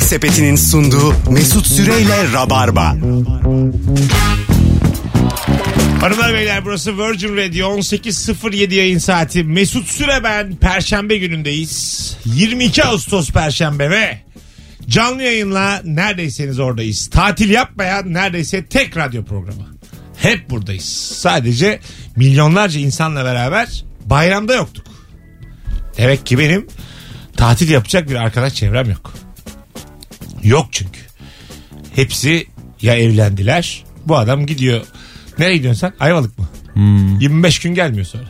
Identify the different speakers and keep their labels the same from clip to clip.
Speaker 1: Sepeti'nin sunduğu Mesut Süreyle Rabarba.
Speaker 2: Hanımlar beyler burası Virgin Radio 18.07 yayın saati. Mesut Süre ben. Perşembe günündeyiz. 22 Ağustos Perşembe ve canlı yayınla neredeyseniz oradayız. Tatil yapmayan neredeyse tek radyo programı. Hep buradayız. Sadece milyonlarca insanla beraber bayramda yoktuk. Demek ki benim tatil yapacak bir arkadaş çevrem yok. Yok çünkü. Hepsi ya evlendiler. Bu adam gidiyor. Nereye gidiyorsun sen? Ayvalık mı? 25 gün gelmiyor sonra.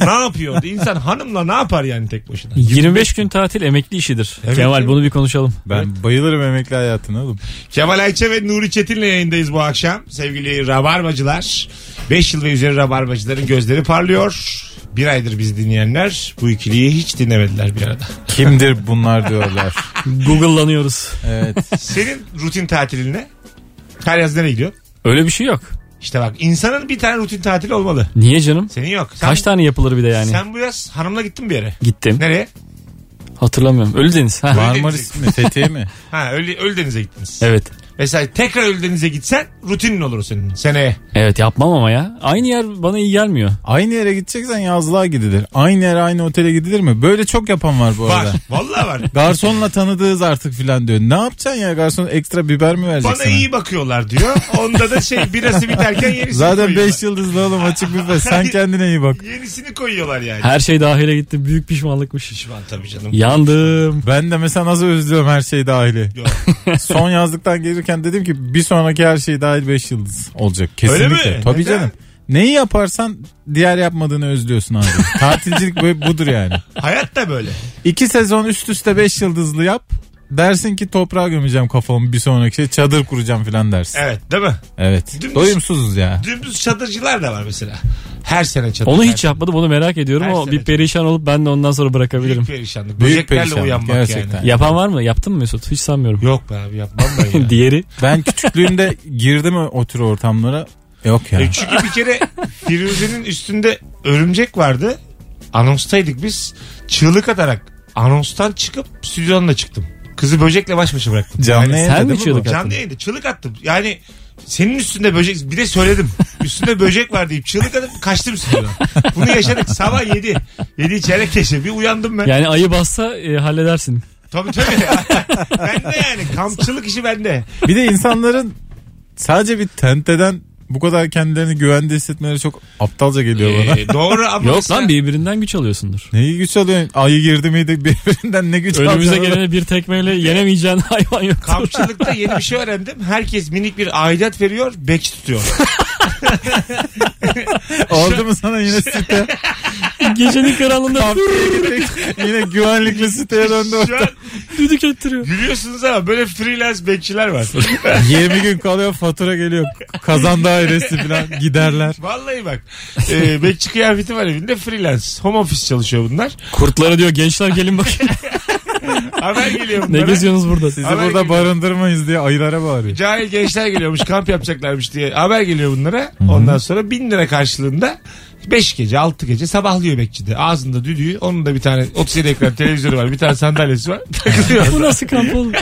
Speaker 2: ne yapıyor? orada? İnsan hanımla ne yapar yani tek başına?
Speaker 3: 25 gün tatil emekli işidir.
Speaker 2: Evet.
Speaker 3: Kemal bunu bir konuşalım.
Speaker 4: Ben bayılırım emekli hayatına oğlum.
Speaker 2: Kemal Ayça ve Nuri Çetin'le yayındayız bu akşam. Sevgili Rabarbacılar. 5 yıl ve üzeri Rabarbacıların gözleri parlıyor. Bir aydır bizi dinleyenler bu ikiliyi hiç dinlemediler bir arada.
Speaker 4: Kimdir bunlar diyorlar.
Speaker 3: Google'lanıyoruz.
Speaker 4: Evet.
Speaker 2: Senin rutin tatilin ne? Her yaz nereye gidiyor?
Speaker 3: Öyle bir şey yok.
Speaker 2: İşte bak insanın bir tane rutin tatil olmalı.
Speaker 3: Niye canım?
Speaker 2: Senin yok. Sen,
Speaker 3: Kaç tane yapılır bir de yani?
Speaker 2: Sen bu yaz hanımla gittin bir yere.
Speaker 3: Gittim.
Speaker 2: Nereye?
Speaker 3: Hatırlamıyorum. Ölüdeniz.
Speaker 2: Şey
Speaker 3: Ha.
Speaker 4: Marmaris mi? Fethiye mi?
Speaker 2: Ha Ölü, Ölüdeniz'e gittiniz.
Speaker 3: Evet.
Speaker 2: Mesela tekrar Ölüdeniz'e gitsen rutinin olur o senin seneye.
Speaker 3: Evet yapmam ama ya. Aynı yer bana iyi gelmiyor.
Speaker 4: Aynı yere gideceksen yazlığa gidilir. Aynı yere aynı otele gidilir mi? Böyle çok yapan var bu arada.
Speaker 2: Var. Vallahi var.
Speaker 4: Garsonla tanıdığız artık filan diyor. Ne yapacaksın ya garson ekstra biber mi vereceksin?
Speaker 2: Bana iyi şey bakıyorlar diyor. Onda da şey birası biterken yenisini
Speaker 4: Zaten
Speaker 2: koyuyorlar.
Speaker 4: 5 yıldızlı oğlum açık büfe. Sen kendine iyi bak.
Speaker 2: Yenisini koyuyorlar yani.
Speaker 3: Her şey dahile gitti. Büyük pişmanlıkmış.
Speaker 2: Pişman tabii canım.
Speaker 3: Yandım.
Speaker 4: Ben de mesela nasıl özlüyorum her şey dahili.
Speaker 2: Yok.
Speaker 4: Son yazlıktan gelirken dedim ki bir sonraki her şey dahil 5 yıldız olacak.
Speaker 2: Öyle mi? E
Speaker 4: Kesinlikle. Tabii
Speaker 2: Neden?
Speaker 4: canım. Neyi yaparsan diğer yapmadığını özlüyorsun abi. Tatilcilik bu- budur yani.
Speaker 2: Hayat da böyle.
Speaker 4: İki sezon üst üste 5 yıldızlı yap. Dersin ki toprağa gömeceğim kafamı bir sonraki şey çadır kuracağım filan dersin. Evet.
Speaker 2: Evet değil mi? Dümdüz-
Speaker 4: Doyumsuzuz ya.
Speaker 2: Dümdüz çadırcılar da var mesela. Her sene çadır.
Speaker 3: Onu hiç yapmadım. Onu merak ediyorum.
Speaker 2: Her
Speaker 3: o
Speaker 2: sene
Speaker 3: bir
Speaker 2: çok-
Speaker 3: perişan olup ben de ondan sonra bırakabilirim.
Speaker 2: Büyük perişanlık.
Speaker 4: Büyük
Speaker 2: Böceklerle
Speaker 4: perişanlık,
Speaker 2: uyanmak
Speaker 4: gerçekten.
Speaker 2: yani.
Speaker 3: Yapan var mı? Yaptın mı Mesut? Hiç sanmıyorum.
Speaker 2: Yok be abi yapmam ben ya.
Speaker 3: Diğeri
Speaker 4: Ben küçüklüğümde girdim o, o tür ortamlara. Yok ya.
Speaker 2: E çünkü bir kere Firuze'nin üstünde örümcek vardı. Anonstaydık biz. Çığlık atarak anonstan çıkıp stüdyonun da çıktım. Kızı böcekle baş başa bıraktım.
Speaker 4: Canlı
Speaker 2: yani,
Speaker 4: yayında
Speaker 3: sen mi
Speaker 4: değil mi bu?
Speaker 3: çığlık attın?
Speaker 2: canlı yayında çığlık attım. Yani senin üstünde böcek bir de söyledim. Üstünde böcek var deyip çığlık atıp kaçtım stüdyodan. Bunu yaşadık sabah 7. 7 çeyrek geçe bir uyandım ben.
Speaker 3: Yani ayı bassa e, halledersin.
Speaker 2: Tabii tabii. bende yani kampçılık işi bende.
Speaker 4: Bir de insanların sadece bir tenteden bu kadar kendilerini güvende hissetmeleri çok aptalca geliyor bana.
Speaker 2: Ee, doğru ama
Speaker 3: Yok
Speaker 2: mesela-
Speaker 3: lan birbirinden güç alıyorsundur.
Speaker 4: Neyi güç alıyorsun? Ayı girdi miydi birbirinden ne güç
Speaker 3: Önümüze
Speaker 4: alacaksın?
Speaker 3: gelene bir tekmeyle yenemeyeceğin hayvan yok.
Speaker 2: Kampçılıkta yeni bir şey öğrendim. Herkes minik bir aidat veriyor, bekçi tutuyor.
Speaker 4: Oldu mu sana yine site?
Speaker 3: Gecenin karanlığında
Speaker 4: yine güvenlikli siteye döndü.
Speaker 2: Şu an
Speaker 3: düdük ettiriyor.
Speaker 2: gülüyorsunuz ama böyle freelance bekçiler var.
Speaker 4: 20 gün kalıyor fatura geliyor. Kazan dairesi falan giderler.
Speaker 2: Vallahi bak. Ee, bekçi kıyafeti var evinde freelance. Home office çalışıyor bunlar.
Speaker 3: Kurtlara diyor gençler gelin bakın.
Speaker 2: Haber geliyor
Speaker 3: ne
Speaker 2: bunlara.
Speaker 3: geziyorsunuz burada?
Speaker 4: Sizi
Speaker 2: Haber
Speaker 4: burada
Speaker 2: geliyor.
Speaker 4: barındırmayız diye ayılara bağırıyor.
Speaker 2: Cahil gençler geliyormuş kamp yapacaklarmış diye haber geliyor bunlara. Ondan sonra bin lira karşılığında 5 gece 6 gece sabahlıyor bekçide. Ağzında düdüğü onun da bir tane 37 ekran televizyonu var bir tane sandalyesi var takılıyor.
Speaker 3: Bu nasıl kamp oğlum?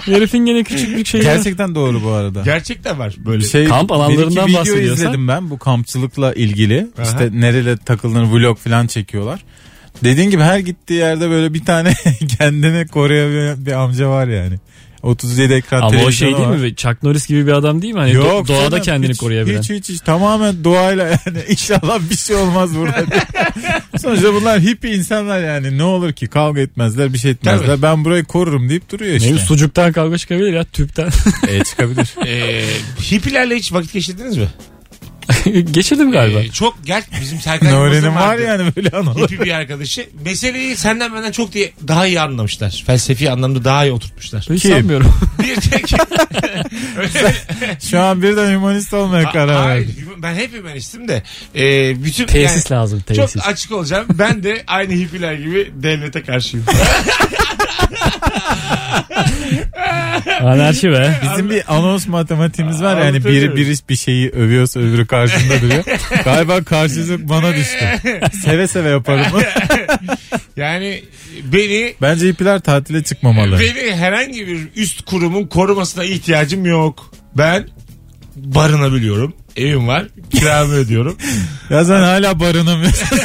Speaker 3: Herifin gene küçük bir şeyi var.
Speaker 4: Gerçekten doğru bu arada.
Speaker 2: Gerçekten var böyle.
Speaker 4: Bir şey,
Speaker 3: Kamp
Speaker 4: bir iki
Speaker 3: alanlarından
Speaker 4: video
Speaker 3: bahsediyorsan-
Speaker 4: izledim ben bu kampçılıkla ilgili.
Speaker 2: Aha.
Speaker 4: İşte nerede takıldığını vlog falan çekiyorlar. Dediğin gibi her gittiği yerde böyle bir tane kendini koruyan bir amca var yani. 37 ekran
Speaker 3: Ama o
Speaker 4: televizyonu
Speaker 3: şey değil
Speaker 4: var.
Speaker 3: mi? Chuck Norris gibi bir adam değil mi? Hani do- doğada
Speaker 4: canım,
Speaker 3: kendini
Speaker 4: hiç-
Speaker 3: koruyabilen.
Speaker 4: Hiç, hiç hiç tamamen doğayla yani inşallah bir şey olmaz burada. diye. Sonuçta bunlar hippie insanlar yani ne olur ki kavga etmezler bir şey etmezler.
Speaker 2: Tabii.
Speaker 4: Ben burayı korurum deyip duruyor
Speaker 3: Ne
Speaker 4: işte.
Speaker 3: bileyim, sucuktan kavga çıkabilir ya tüpten.
Speaker 4: E, çıkabilir.
Speaker 2: Ee, hippilerle hiç vakit geçirdiniz mi?
Speaker 3: Geçirdim galiba.
Speaker 2: Ee, çok gel bizim Serkan Yılmaz'ın
Speaker 4: Nörenim var
Speaker 2: vardı.
Speaker 4: yani böyle anılar.
Speaker 2: Hippi bir arkadaşı. Meseleyi senden benden çok diye daha iyi anlamışlar. Felsefi anlamda daha iyi oturtmuşlar.
Speaker 3: Hiç
Speaker 4: Kim?
Speaker 3: sanmıyorum.
Speaker 2: bir tek... Öyle-
Speaker 4: Şu an birden hümanist olmaya karar
Speaker 2: Hayır,
Speaker 4: verdim.
Speaker 2: ben hep hümanistim de. Ee, bütün,
Speaker 3: Tesis
Speaker 2: yani
Speaker 3: lazım
Speaker 2: çok
Speaker 3: tesis.
Speaker 2: açık olacağım. Ben de aynı hippiler gibi devlete karşıyım.
Speaker 3: Anarşi be.
Speaker 4: Bizim bir anons matematiğimiz var yani
Speaker 2: Anlatabiliyor
Speaker 4: biri
Speaker 2: muyum?
Speaker 4: bir bir şeyi övüyorsa öbürü karşısında duruyor. Galiba karşılık bana düştü. Seve seve yaparım.
Speaker 2: yani beni
Speaker 4: Bence ipiler tatile çıkmamalı.
Speaker 2: beni herhangi bir üst kurumun korumasına ihtiyacım yok. Ben barınabiliyorum. Evim var. Kiramı ödüyorum.
Speaker 4: Ya sen hala barınamıyorsun.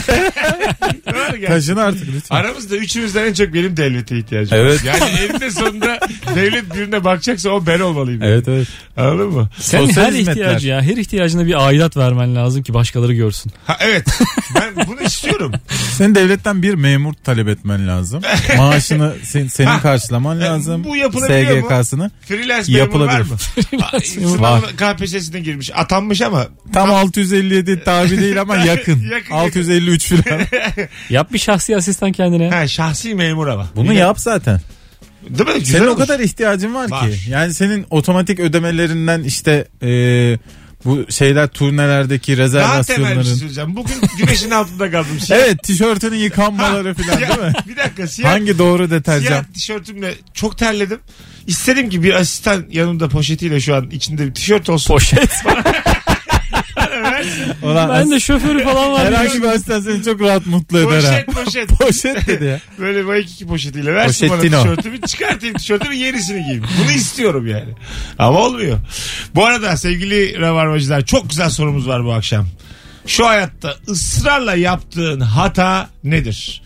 Speaker 2: Var ya.
Speaker 4: Taşın artık lütfen.
Speaker 2: Aramızda üçümüzden en çok benim devlete ihtiyacım
Speaker 4: Evet.
Speaker 2: var. Yani eninde sonunda devlet birine bakacaksa o ben olmalıyım.
Speaker 4: Evet evet.
Speaker 2: Anladın mı?
Speaker 3: Sen
Speaker 4: Sosyal
Speaker 3: her
Speaker 4: hizmetler.
Speaker 3: ihtiyacı ya her ihtiyacına bir aidat vermen lazım ki başkaları görsün.
Speaker 2: Ha, evet. Ben bunu istiyorum.
Speaker 4: Senin devletten bir memur talep etmen lazım. Maaşını sen- senin karşılaman lazım.
Speaker 2: E, Bu yapılabiliyor mu?
Speaker 4: SGK'sını.
Speaker 2: Freelance memur var mı? Aa,
Speaker 4: Var.
Speaker 2: Sınavına KPSS'ine girmiş. Atanmış ama
Speaker 4: Tam 657 tabi değil ama yakın.
Speaker 2: Yakın,
Speaker 4: 653 falan.
Speaker 3: Yap bir şahsi asistan kendine.
Speaker 2: ha, şahsi memur ama.
Speaker 4: Bunu yap zaten.
Speaker 2: Değil mi? Güzel
Speaker 4: Senin o
Speaker 2: olur.
Speaker 4: kadar ihtiyacın var,
Speaker 2: Var.
Speaker 4: ki. Yani senin otomatik ödemelerinden işte eee, bu şeyler turnelerdeki
Speaker 2: Daha temel bir şey
Speaker 4: rezervasyonların.
Speaker 2: söyleyeceğim. Bugün güneşin altında kaldım. Siyah-
Speaker 4: Evet tişörtünün yıkanmaları falan değil mi?
Speaker 2: bir dakika siyah,
Speaker 4: Hangi doğru deterjan?
Speaker 2: siyah tişörtümle çok terledim. İstedim ki bir asistan yanımda poşetiyle şu an içinde bir tişört olsun.
Speaker 3: Poşet.
Speaker 4: Ulan
Speaker 3: ben de şoförü falan var.
Speaker 4: herhangi bir asistan seni çok rahat mutlu eder ha.
Speaker 2: Poşet poşet.
Speaker 4: Poşet dedi ya.
Speaker 2: Böyle Waikiki poşetiyle versin
Speaker 4: Poşettino.
Speaker 2: bana tişörtümü çıkartayım tişörtümü yenisini giyeyim. Bunu istiyorum yani. Ama olmuyor. Bu arada sevgili ravarmacılar çok güzel sorumuz var bu akşam. Şu hayatta ısrarla yaptığın hata nedir?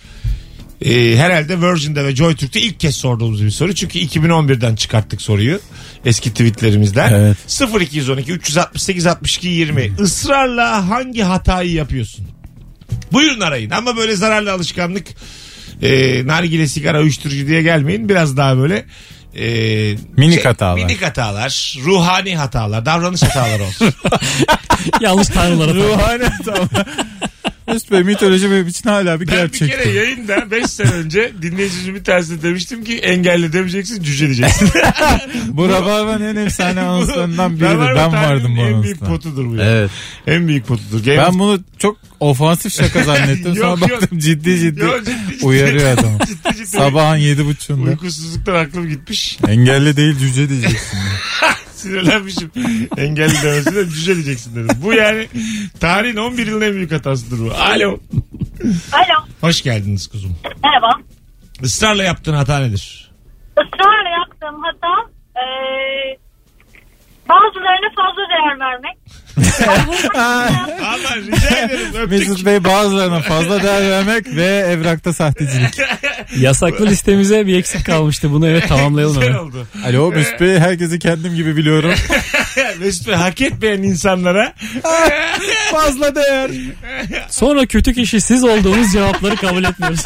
Speaker 2: Ee, herhalde Virgin'de ve JoyTürk'te ilk kez sorduğumuz bir soru. Çünkü 2011'den çıkarttık soruyu. Eski tweetlerimizden.
Speaker 4: Evet. Hmm.
Speaker 2: 0212 368 62 20. Israrla hangi hatayı yapıyorsun? Buyurun arayın ama böyle zararlı alışkanlık e, nargile sigara uyuşturucu diye gelmeyin. Biraz daha böyle e,
Speaker 4: Minik hatalar.
Speaker 2: Minik hatalar, ruhani hatalar, davranış hataları olsun.
Speaker 3: Yanlış tanrılara. falan.
Speaker 4: Ruhani tamam. Üst Bey mitoloji benim için hala bir
Speaker 2: ben
Speaker 4: gerçek.
Speaker 2: bir kere yayında 5 sene önce dinleyicimizin bir tanesine demiştim ki engelli demeyeceksin cüceleyeceksin.
Speaker 4: Bu Rabarba'nın en efsane anonslarından
Speaker 2: Ben
Speaker 4: biridir.
Speaker 2: var mı
Speaker 4: Ben
Speaker 2: tarihin
Speaker 4: vardım bu
Speaker 2: En büyük
Speaker 4: anonsda.
Speaker 2: potudur bu ya.
Speaker 4: Evet.
Speaker 2: En büyük potudur. Game of
Speaker 4: Ben bunu çok ofansif şaka zannettim.
Speaker 2: Yok,
Speaker 4: Sonra
Speaker 2: yok.
Speaker 4: baktım ciddi ciddi
Speaker 2: Yo, ciddi ciddi.
Speaker 4: uyarıyor adamı.
Speaker 2: Ciddi ciddi.
Speaker 4: Sabahın yedi buçuğunda.
Speaker 2: Uykusuzluktan aklım gitmiş.
Speaker 4: Engelli değil cüce diyeceksin.
Speaker 2: Sinirlenmişim. Engelli demesine cüce diyeceksin dedim. Bu yani tarihin 11 yılın en büyük hatasıdır bu. Alo.
Speaker 5: Alo.
Speaker 2: Hoş geldiniz kuzum.
Speaker 5: Merhaba.
Speaker 2: Israrla yaptığın hata nedir?
Speaker 5: Israrla yaptığım hata e, bazılarına fazla değer vermek.
Speaker 2: Allah rica ederim öptük.
Speaker 4: Mesut Bey bazılarına fazla değer vermek ve evrakta sahtecilik.
Speaker 3: Yasaklı listemize bir eksik kalmıştı. Bunu evet tamamlayalım.
Speaker 2: Güzel
Speaker 3: hemen.
Speaker 2: oldu.
Speaker 4: Alo Mesut Bey herkesi kendim gibi biliyorum.
Speaker 2: Mesut Bey hak etmeyen insanlara
Speaker 4: fazla değer.
Speaker 3: Sonra kötü kişi siz olduğunuz cevapları kabul etmiyoruz.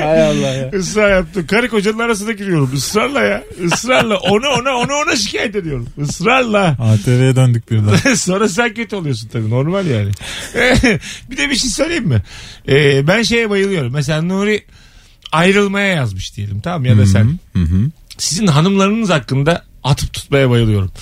Speaker 4: Hay Allah ya.
Speaker 2: ısrar yaptım. Karı kocanın arasına giriyorum. Israrla ya. Israrla. Ona ona ona ona şikayet ediyorum. Israrla.
Speaker 4: ATV'ye döndük birden.
Speaker 2: Sonra sen kötü oluyorsun tabii normal yani. bir de bir şey söyleyeyim mi? Ee, ben şeye bayılıyorum. Mesela Nuri ayrılmaya yazmış diyelim tamam mı? ya da sen. Sizin hanımlarınız hakkında atıp tutmaya bayılıyorum.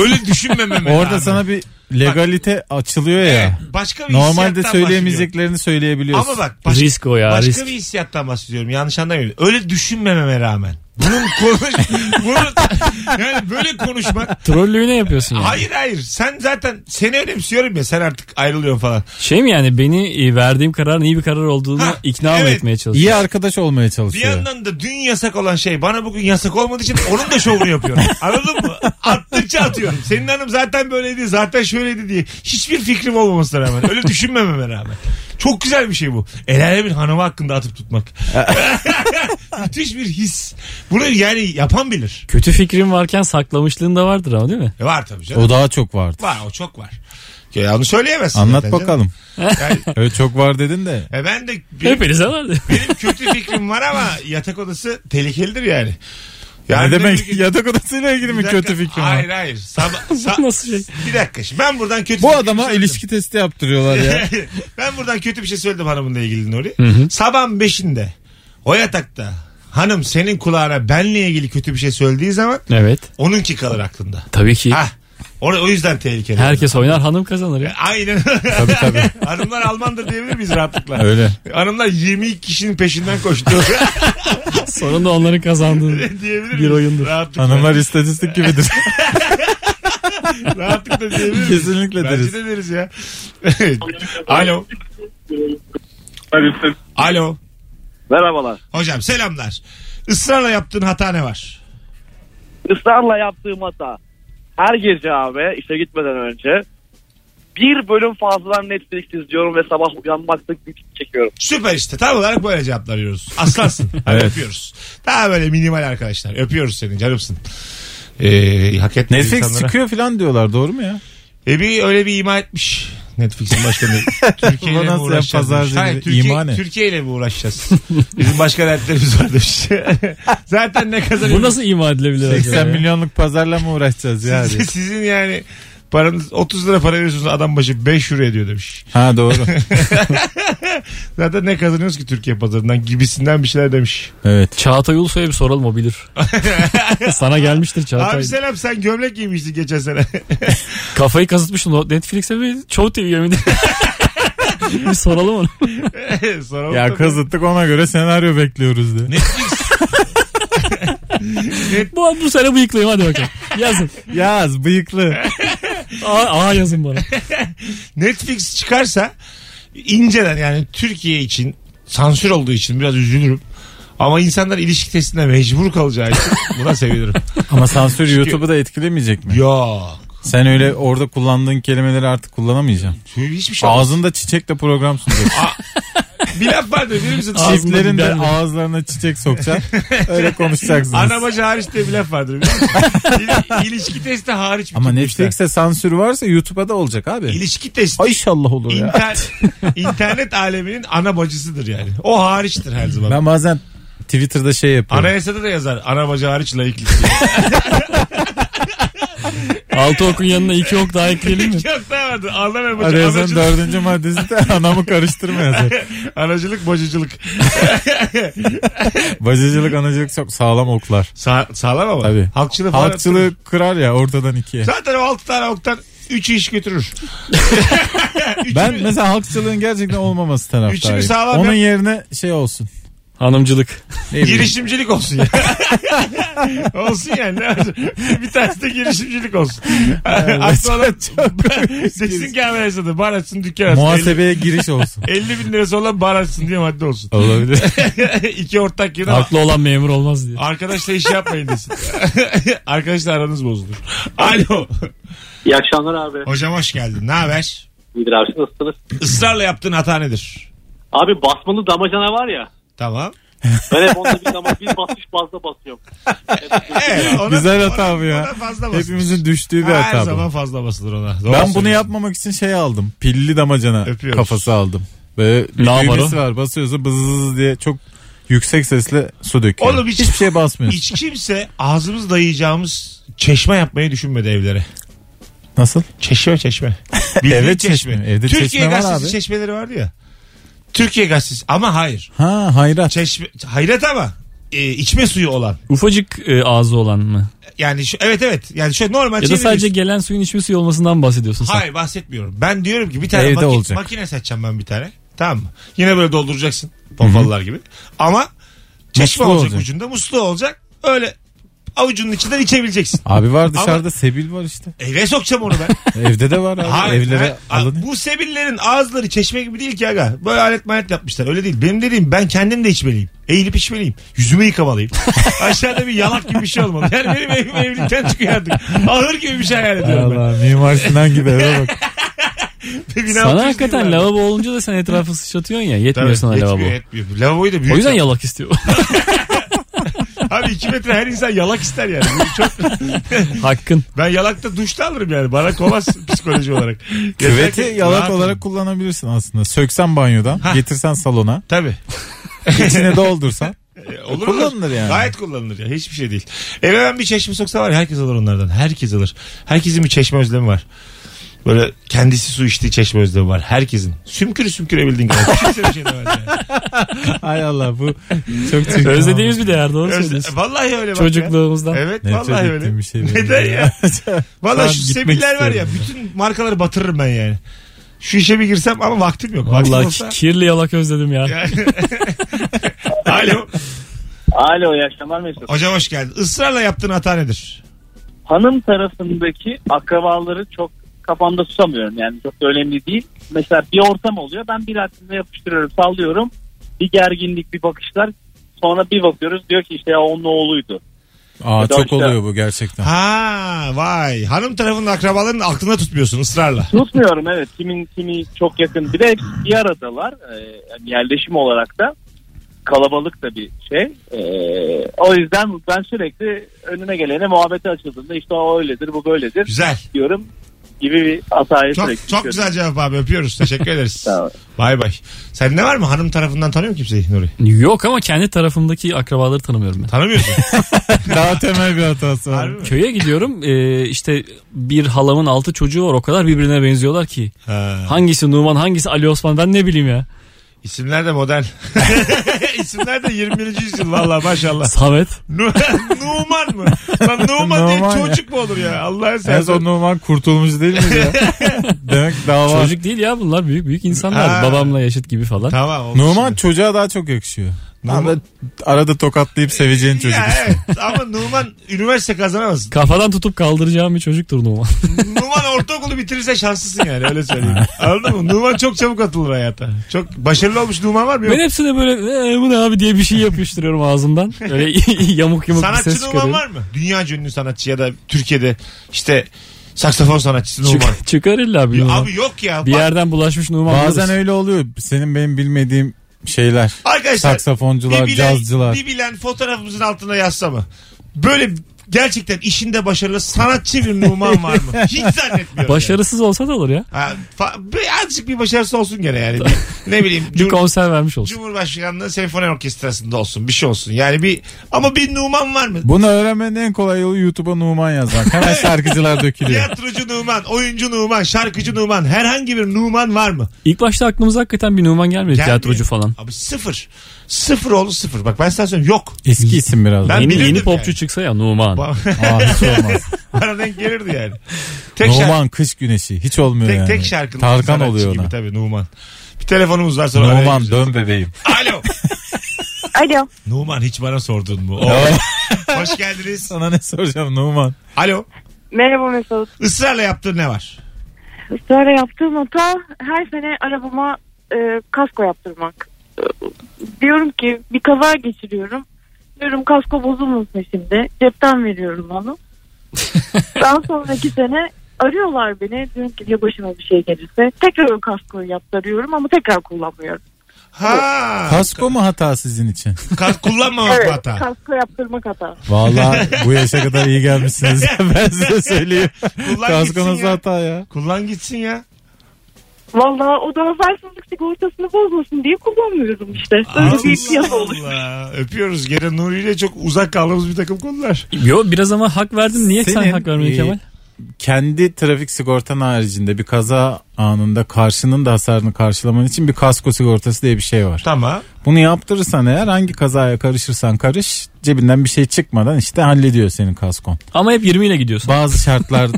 Speaker 2: Öyle düşünmememe
Speaker 4: Orada
Speaker 2: rağmen.
Speaker 4: sana bir legalite açılıyor ya.
Speaker 2: Evet, başka bir
Speaker 4: Normalde
Speaker 2: hissiyattan
Speaker 4: söyleyemeyeceklerini
Speaker 2: bahsediyorum.
Speaker 4: söyleyebiliyorsun.
Speaker 2: Ama bak başka,
Speaker 3: risk o ya
Speaker 2: başka
Speaker 3: risk.
Speaker 2: bir hissiyattan bahsediyorum. Yanlış anlamayın. Öyle düşünmememe rağmen. Bunun konuş... bunun, yani böyle konuşmak...
Speaker 3: Trollüğüne yapıyorsun yani.
Speaker 2: Hayır hayır. Sen zaten seni önemsiyorum ya. Sen artık ayrılıyorsun falan.
Speaker 3: Şey mi yani beni e, verdiğim kararın iyi bir karar olduğunu
Speaker 2: Ha,
Speaker 3: ikna mı
Speaker 2: evet.
Speaker 3: etmeye çalışıyorsun?
Speaker 4: İyi arkadaş olmaya
Speaker 2: Bir
Speaker 4: çalışıyor.
Speaker 2: yandan da dün yasak olan şey bana bugün yasak olmadığı için onun da şovunu yapıyorum. Anladın mı? Attıkça atıyorum. Senin hanım zaten böyleydi zaten şöyleydi diye. Hiçbir fikrim olmamasına rağmen. Öyle düşünmememe rağmen. Çok güzel bir şey bu. El alemin hanımı hakkında atıp tutmak. Müthiş bir his. Bunu yani yapan bilir.
Speaker 3: Kötü fikrim varken saklamışlığın da vardır ama değil mi?
Speaker 2: E var tabii canım.
Speaker 4: O daha çok vardı.
Speaker 2: Var o çok var. Ya onu söyleyemezsin.
Speaker 4: Anlat
Speaker 2: zaten canım.
Speaker 4: bakalım. Evet çok var dedin de.
Speaker 2: E ben de benim,
Speaker 3: Hepinize vardı.
Speaker 2: benim kötü fikrim var ama yatak odası tehlikelidir yani. Yani
Speaker 4: ne demek yatak odasıyla ilgili mi
Speaker 2: Bir dakika.
Speaker 4: kötü fikrim
Speaker 2: Hayır
Speaker 4: var?
Speaker 2: hayır. Sabah, sa-
Speaker 3: Nasıl şey?
Speaker 2: Bir dakika şimdi ben buradan kötü
Speaker 4: Bu
Speaker 2: fikir
Speaker 4: adama
Speaker 2: söyledim.
Speaker 4: ilişki testi yaptırıyorlar ya.
Speaker 2: ben buradan kötü bir şey söyledim hanımınla ilgili Nuri. Sabahın beşinde o yatakta hanım senin kulağına benle ilgili kötü bir şey söylediği zaman
Speaker 3: Evet.
Speaker 2: onunki kalır aklında.
Speaker 3: Tabii ki.
Speaker 2: Ha. O, o yüzden tehlikeli.
Speaker 3: Herkes oynar hanım kazanır ya.
Speaker 2: Aynen.
Speaker 4: tabii tabii.
Speaker 2: Hanımlar Almandır diyebilir miyiz rahatlıkla?
Speaker 4: Öyle.
Speaker 2: Hanımlar 22 kişinin peşinden koştu.
Speaker 3: Sonra da onların kazandığı.
Speaker 2: diyebilir miyiz?
Speaker 3: Bir oyundur.
Speaker 2: Rahatlıkla.
Speaker 4: Hanımlar istatistik gibidir.
Speaker 2: Rahatlıkla diyebilir miyiz?
Speaker 4: Kesinlikle
Speaker 2: Bence
Speaker 4: deriz.
Speaker 2: de deriz ya. Alo. Alo.
Speaker 6: Merhabalar.
Speaker 2: Hocam selamlar. Israrla yaptığın hata ne var?
Speaker 6: Israrla yaptığım hata. Her gece abi işe gitmeden önce bir bölüm fazladan Netflix izliyorum ve sabah uyanmakta güç çekiyorum.
Speaker 2: Süper işte. Tam olarak böyle cevaplar arıyoruz. Aslansın. Hadi
Speaker 4: Evet.
Speaker 2: öpüyoruz. Daha böyle minimal arkadaşlar. Öpüyoruz seni canımsın. Ee, hak etmedi
Speaker 4: Netflix
Speaker 2: insanlara.
Speaker 4: çıkıyor falan diyorlar doğru mu ya?
Speaker 2: E bir öyle bir ima etmiş. Netflix'in başkanı Türkiye ile
Speaker 4: Bu
Speaker 2: mi
Speaker 4: nasıl ya,
Speaker 2: uğraşacağız? demiş.
Speaker 4: pazarcı
Speaker 2: Hayır,
Speaker 4: gibi.
Speaker 2: Türkiye,
Speaker 4: İma ne?
Speaker 2: Türkiye ile mi uğraşacağız? Bizim başka dertlerimiz var demiş. Zaten ne
Speaker 3: Bu
Speaker 2: kazanıyoruz?
Speaker 3: nasıl ima edilebilir? acaba
Speaker 4: 80
Speaker 3: ya?
Speaker 4: milyonluk pazarla mı uğraşacağız ya?
Speaker 2: Sizin, sizin yani paranız 30 lira para veriyorsunuz adam başı 5 euro ediyor demiş.
Speaker 4: ha doğru.
Speaker 2: Zaten ne kazanıyoruz ki Türkiye pazarından gibisinden bir şeyler demiş.
Speaker 4: Evet.
Speaker 3: Çağatay Ulusoy'a bir soralım o bilir. Sana gelmiştir Çağatay.
Speaker 2: Abi selam sen gömlek giymiştin geçen sene.
Speaker 3: Kafayı kasıtmışsın. O Netflix'e bir çoğu TV yemedi. bir soralım onu.
Speaker 2: Sonra
Speaker 4: Ya
Speaker 2: bakalım.
Speaker 4: kazıttık ona göre senaryo bekliyoruz de.
Speaker 3: Bu, bu sene bıyıklıyım hadi bakalım. Yazın.
Speaker 4: Yaz bıyıklı.
Speaker 3: Aa, aa yazın bana.
Speaker 2: Netflix çıkarsa inceden yani Türkiye için sansür olduğu için biraz üzülürüm. Ama insanlar ilişki testine mecbur kalacağı için buna sevinirim.
Speaker 4: Ama sansür YouTube'u da etkilemeyecek mi?
Speaker 2: Yok.
Speaker 4: Sen öyle orada kullandığın kelimeleri artık kullanamayacaksın.
Speaker 2: Hiçbir şey olmaz.
Speaker 4: Ağzında çiçekle program sunacaksın.
Speaker 2: Bir laf vardır bilir misin?
Speaker 3: Ağzında
Speaker 4: Çiftlerin de
Speaker 3: biberle.
Speaker 4: ağızlarına çiçek sokacaksın. Öyle konuşacaksınız.
Speaker 2: Ana bacı hariç diye bir laf vardır biliyor musun? İli- İlişki testi hariç. bütün
Speaker 4: Ama
Speaker 2: işler.
Speaker 4: Netflix'e sansür varsa YouTube'a da olacak abi.
Speaker 2: İlişki testi
Speaker 4: Ay İnşallah olur ya.
Speaker 2: internet, internet aleminin ana bacısıdır yani. O hariçtir her zaman.
Speaker 4: Ben bazen Twitter'da şey yapıyorum.
Speaker 2: Anayasada da yazar. Ana bacı hariç layıklık.
Speaker 3: Altı okun yanına iki ok daha ekleyelim mi?
Speaker 2: Yok ne vardı? Ana ve bacı.
Speaker 4: Anayasanın
Speaker 2: Anacılık-
Speaker 4: dördüncü maddesi de anamı karıştırma yazar.
Speaker 2: Anacılık, bacıcılık.
Speaker 4: Bacıcılık anacılık çok sağlam oklar.
Speaker 2: Sa sağlam ama.
Speaker 4: Tabii.
Speaker 2: Halkçılığı falan.
Speaker 4: Halkçılığı kırar ya ortadan ikiye.
Speaker 2: Zaten o 6 tane oktan 3'ü iş götürür.
Speaker 4: Ben mesela halkçılığın gerçekten olmaması taraftarıyım.
Speaker 2: Üçünü sağlam
Speaker 4: Onun
Speaker 2: yap-
Speaker 4: yerine şey olsun.
Speaker 3: Hanımcılık.
Speaker 4: Ne bileyim.
Speaker 2: Girişimcilik olsun ya. olsun yani. ne var? Bir tanesi de girişimcilik olsun. Aklı olan desin ki hemen yaşadı. Bar açsın dükkan açsın.
Speaker 4: Muhasebeye giriş olsun.
Speaker 2: 50, 50 bin lirası olan bar açsın diye madde olsun.
Speaker 4: Olabilir.
Speaker 2: İki ortak yine
Speaker 3: Haklı olan memur olmaz diye.
Speaker 2: arkadaşla iş yapmayın desin. Arkadaşla aranız bozulur. Alo.
Speaker 6: İyi akşamlar abi.
Speaker 2: Hocam hoş geldin. Ne haber?
Speaker 6: İyidir abi nasılsınız?
Speaker 2: Israrla yaptığın hata nedir?
Speaker 6: Abi basmalı damacana var ya.
Speaker 2: Tamam.
Speaker 6: Ben hep onda bir, dama, bir basış fazla basıyorum.
Speaker 2: Evet, ona-
Speaker 4: Güzel hata
Speaker 2: ona-
Speaker 4: bu ya.
Speaker 2: ona fazla basılır.
Speaker 4: Hepimizin düştüğü bir
Speaker 2: Her
Speaker 4: hata bu.
Speaker 2: zaman fazla basılır ona. Doğru
Speaker 4: Ben bunu
Speaker 2: söylüyorsun.
Speaker 4: yapmamak için şey aldım. Pilli damacana
Speaker 2: Öpüyoruz.
Speaker 4: kafası aldım. Böyle bir
Speaker 3: Ne yapar
Speaker 4: düğmesi
Speaker 3: o?
Speaker 4: var. Basıyorsun bızız diye çok yüksek sesle su döküyor.
Speaker 2: Oğlum hiç-
Speaker 4: Hiçbir şey basmıyorsun.
Speaker 2: Hiç kimse ağzımız dayayacağımız çeşme yapmayı düşünmedi evlere.
Speaker 4: Nasıl?
Speaker 2: Çeşme çeşme. Bildiğin
Speaker 4: Evet, çeşme. Evde
Speaker 2: Türkiye
Speaker 4: çeşme var
Speaker 2: gazetesi
Speaker 4: abi.
Speaker 2: çeşmeleri vardı ya. Türkiye gazetesi ama hayır.
Speaker 4: Ha hayrat.
Speaker 2: Çeşme, hayret ama e, içme suyu olan.
Speaker 3: Ufacık e, ağzı olan mı?
Speaker 2: Yani şu, evet evet. Yani şöyle normal
Speaker 3: Ya da
Speaker 2: çeviriyorsun.
Speaker 3: sadece gelen suyun içme suyu olmasından bahsediyorsun sen.
Speaker 2: Hayır bahsetmiyorum. Ben diyorum ki bir tane
Speaker 4: Evde
Speaker 2: maki-
Speaker 4: olacak.
Speaker 2: makine seçeceğim ben bir tane. Tamam mı? Yine böyle dolduracaksın. Pompalılar gibi. Ama çeşme
Speaker 4: Musluğu
Speaker 2: olacak,
Speaker 4: olacak.
Speaker 2: ucunda. Musluğu olacak. Öyle avucunun içinden içebileceksin.
Speaker 4: Abi var dışarıda sebil var işte.
Speaker 2: Eve sokacağım onu ben.
Speaker 4: Evde de var abi.
Speaker 2: Hayır,
Speaker 4: Evlere
Speaker 2: hayır.
Speaker 4: alın.
Speaker 2: Bu sebillerin ağızları çeşme gibi değil ki aga. Böyle alet malet yapmışlar. Öyle değil. Benim dediğim ben kendim de içmeliyim. Eğilip içmeliyim. Yüzümü yıkamalıyım. Aşağıda bir yalak gibi bir şey olmalı. Yani benim evim evlilikten çıkıyor artık. Ahır gibi bir şey hayal ediyorum ben.
Speaker 4: Allah Mimar Sinan gibi eve bak.
Speaker 2: Bir bina
Speaker 3: Sana
Speaker 2: oturuşu
Speaker 3: hakikaten
Speaker 2: gibi ben.
Speaker 3: lavabo olunca da sen etrafı sıçratıyorsun ya.
Speaker 2: Tabii,
Speaker 3: Yetmiyor sana
Speaker 2: yetmiyor,
Speaker 3: lavabo.
Speaker 2: yetmiyor. Lavaboyu da büyük.
Speaker 3: O yüzden
Speaker 2: yap-
Speaker 3: yalak istiyor.
Speaker 2: Abi 2 metre her insan yalak ister yani. Bu Çok,
Speaker 3: Hakkın.
Speaker 2: ben yalakta duşta alırım yani. Bana kovaz psikoloji olarak.
Speaker 4: Küveti
Speaker 2: Yeter ki
Speaker 4: yalak
Speaker 2: rahat-
Speaker 4: olarak kullanabilirsin aslında. Söksen banyodan,
Speaker 2: Ha.
Speaker 4: getirsen salona,
Speaker 2: Tabii.
Speaker 4: içine doldursan.
Speaker 2: E, Olur
Speaker 4: Kullanılır yani.
Speaker 2: Gayet kullanılır ya. Hiçbir şey değil. Eve ben bir çeşme soksa var ya herkes alır onlardan. Herkes alır. Herkesin bir çeşme özlemi var. Böyle kendisi su içtiği çeşme özlemi var. Herkesin. Sümkürü sümkürebildiğin kadar. Kimse bir şey demez yani.
Speaker 4: Ay Allah bu çok çirkin.
Speaker 3: Özlediğimiz bir değer doğru
Speaker 2: Öz-
Speaker 3: söylüyorsun.
Speaker 2: Vallahi öyle bak ya.
Speaker 3: Çocukluğumuzdan.
Speaker 2: Evet
Speaker 4: Nefret
Speaker 2: vallahi öyle.
Speaker 4: ettiğim bir şey benim
Speaker 2: Neden ya? Vallahi
Speaker 4: an
Speaker 2: şu
Speaker 4: gitmek
Speaker 2: sebiller var ya
Speaker 4: istiyorum.
Speaker 2: bütün markaları batırırım ben yani. Şu işe bir girsem ama vaktim yok. Vaktim
Speaker 3: Vallahi
Speaker 2: olsa...
Speaker 3: kirli yalak özledim ya.
Speaker 2: Alo.
Speaker 6: Alo iyi akşamlar Mesut.
Speaker 2: Hocam hoş geldin. Israrla yaptığın hata nedir?
Speaker 6: hanım tarafındaki akrabaları çok kafamda tutamıyorum. Yani çok da önemli değil. Mesela bir ortam oluyor. Ben bir hakkında yapıştırıyorum, sallıyorum. Bir gerginlik bir bakışlar. Sonra bir bakıyoruz diyor ki işte ya onun oğluydu.
Speaker 4: Aa
Speaker 6: Ya da
Speaker 4: çok
Speaker 6: işte-
Speaker 4: oluyor bu gerçekten.
Speaker 2: Ha vay. Hanım tarafının akrabalarını aklında tutmuyorsun ısrarla.
Speaker 6: Tutmuyorum evet. Kimin kimi çok yakın. Bir de hepsi bir aradalar. Ee, yani yerleşim olarak da kalabalık da bir şey. Ee, o yüzden ben sürekli önüne gelene muhabbete açıldığımda işte o öyledir bu böyledir
Speaker 2: Güzel.
Speaker 6: diyorum gibi bir hatayı sürekli
Speaker 2: Çok çok
Speaker 6: yapıyorum.
Speaker 2: güzel cevap abi. Öpüyoruz. Teşekkür ederiz.
Speaker 6: Sağ ol.
Speaker 2: Bay bay. Sen ne var mı? Hanım tarafından tanıyor musun kimseyi Nuri?
Speaker 3: Yok ama kendi tarafımdaki akrabaları tanımıyorum ben.
Speaker 2: Tanımıyorsun.
Speaker 4: Daha temel bir hatası var.
Speaker 2: Harbi mi?
Speaker 3: Köye gidiyorum e, işte bir halamın altı çocuğu var o kadar birbirine benziyorlar ki.
Speaker 2: Ha.
Speaker 3: Hangisi Numan hangisi Ali Osman ben ne bileyim ya.
Speaker 2: İsimler de modern. İsimler de 21. yüzyıl valla maşallah.
Speaker 3: Samet.
Speaker 2: Nu- Numan mı? Lan Numan,
Speaker 4: Numan
Speaker 2: diye
Speaker 4: ya.
Speaker 2: çocuk mu olur ya? Allah'ın
Speaker 4: En
Speaker 2: sen.
Speaker 4: son Numan kurtulmuş değil mi ya? Demek dava.
Speaker 3: Çocuk değil ya bunlar büyük büyük insanlar.
Speaker 2: Ha.
Speaker 3: Babamla yaşıt gibi falan.
Speaker 2: Tamam. olmuş
Speaker 4: Numan
Speaker 2: şimdi.
Speaker 4: çocuğa daha çok yakışıyor.
Speaker 2: Numan-
Speaker 4: Arada, arada tokatlayıp seveceğin çocuk.
Speaker 2: Ya evet, ama Numan üniversite kazanamaz.
Speaker 3: Kafadan tutup kaldıracağım bir çocuktur Numan.
Speaker 2: Numan ortaokulu bitirirse şanslısın yani öyle söyleyeyim. Anladın mı? Numan çok çabuk atılır hayata. Çok başarılı olmuş Numan var mı? Yok.
Speaker 3: ben hepsine böyle "Ee, bu ne abi diye bir şey yapıştırıyorum ağzımdan. Öyle yamuk yamuk bir ses
Speaker 2: Sanatçı Numan
Speaker 3: çıkarıyorum.
Speaker 2: var mı? Dünya ünlü sanatçı ya da Türkiye'de işte saksafon sanatçısı Numan.
Speaker 3: Çık- çıkar illa bir Numan.
Speaker 2: Abi yok ya.
Speaker 3: Bir
Speaker 2: Bak,
Speaker 3: yerden bulaşmış Numan.
Speaker 4: Bazen
Speaker 3: buluruz.
Speaker 4: öyle oluyor. Senin benim bilmediğim şeyler.
Speaker 2: Arkadaşlar
Speaker 4: Saksafoncular,
Speaker 2: bir bilen,
Speaker 4: cazcılar.
Speaker 2: bir bilen fotoğrafımızın altına yazsa mı? Böyle gerçekten işinde başarılı sanatçı bir Numan var mı? Hiç zannetmiyorum.
Speaker 3: Başarısız olsa da olur ya.
Speaker 2: Yani. Ha, fa- bir- azıcık bir başarısı olsun gene yani. Bir- ne bileyim.
Speaker 3: Bir
Speaker 2: Cum-
Speaker 3: konser vermiş olsun.
Speaker 2: Cumhurbaşkanlığı Senfoni Orkestrası'nda olsun. Bir şey olsun. Yani bir ama bir Numan var mı?
Speaker 4: Bunu öğrenmenin en kolay yolu YouTube'a Numan yazmak. Hemen şarkıcılar dökülüyor.
Speaker 2: Tiyatrocu Numan, oyuncu Numan, şarkıcı Numan, herhangi bir Numan var mı?
Speaker 3: İlk başta aklımıza hakikaten bir Numan gelmedi.
Speaker 2: Gelmiyor.
Speaker 3: Tiyatrocu falan.
Speaker 2: Abi sıfır. Sıfır oğlu sıfır. Bak ben sana söyleyeyim yok.
Speaker 4: Eski isim biraz.
Speaker 2: Ben-
Speaker 4: Ben...
Speaker 3: Yeni,
Speaker 2: bilirdim
Speaker 3: yeni popçu
Speaker 2: yani.
Speaker 3: çıksa ya Numan.
Speaker 4: Aa, hiç olmaz.
Speaker 2: Bana denk gelirdi yani. Tek şarkı-
Speaker 4: Numan kış güneşi. Hiç olmuyor
Speaker 2: Tek
Speaker 4: yani.
Speaker 2: tek şarkılı.
Speaker 4: Tarkan
Speaker 2: sanatçı
Speaker 4: oluyor
Speaker 2: gibi
Speaker 4: ona.
Speaker 2: tabii Numan. Bir telefonumuz var sonra arayalım
Speaker 4: Numan
Speaker 2: biz.
Speaker 4: dön bebeğim.
Speaker 2: Alo.
Speaker 5: Alo.
Speaker 2: Numan hiç bana sordun mu? Oo. Hoş geldiniz.
Speaker 4: Sana ne soracağım Numan?
Speaker 2: Alo.
Speaker 5: Merhaba Mesut.
Speaker 2: Israrla yaptığın ne var?
Speaker 5: Sonra yaptığım hata her sene arabama e, kasko yaptırmak. E, diyorum ki bir kaza geçiriyorum. Diyorum kasko bozulmasın şimdi. Cepten veriyorum onu. Daha sonraki sene arıyorlar beni. Diyorum ki ya başıma bir şey gelirse. Tekrar o kaskoyu yaptırıyorum ama tekrar kullanmıyorum.
Speaker 2: Ha.
Speaker 4: Kasko mu hata sizin için?
Speaker 2: Kas kullanmamak
Speaker 5: evet
Speaker 2: bu hata.
Speaker 5: kasko yaptırmak hata.
Speaker 4: Vallahi bu yaşa kadar iyi gelmişsiniz. ben size söyleyeyim.
Speaker 2: Kullan
Speaker 4: Kasko
Speaker 2: gitsin
Speaker 4: nasıl
Speaker 2: ya.
Speaker 4: hata ya?
Speaker 2: Kullan gitsin ya.
Speaker 5: Vallahi o da habersizlik sigortasını bozmasın diye kullanmıyorum işte. Öyle bir şey piyasa oldu.
Speaker 2: Allah. Öpüyoruz. Gene Nuri ile çok uzak kaldığımız bir takım konular.
Speaker 3: Yo biraz ama hak verdin. Niye sen
Speaker 4: Senin,
Speaker 3: hak vermedin
Speaker 4: e,
Speaker 3: Kemal?
Speaker 4: Kendi trafik sigortan haricinde bir kaza anında karşının da hasarını karşılaman için bir kasko sigortası diye bir şey var.
Speaker 2: Tamam.
Speaker 4: Bunu yaptırırsan eğer hangi kazaya karışırsan karış cebinden bir şey çıkmadan işte hallediyor senin kaskon.
Speaker 3: Ama hep 20 ile gidiyorsun.
Speaker 4: Bazı şartlar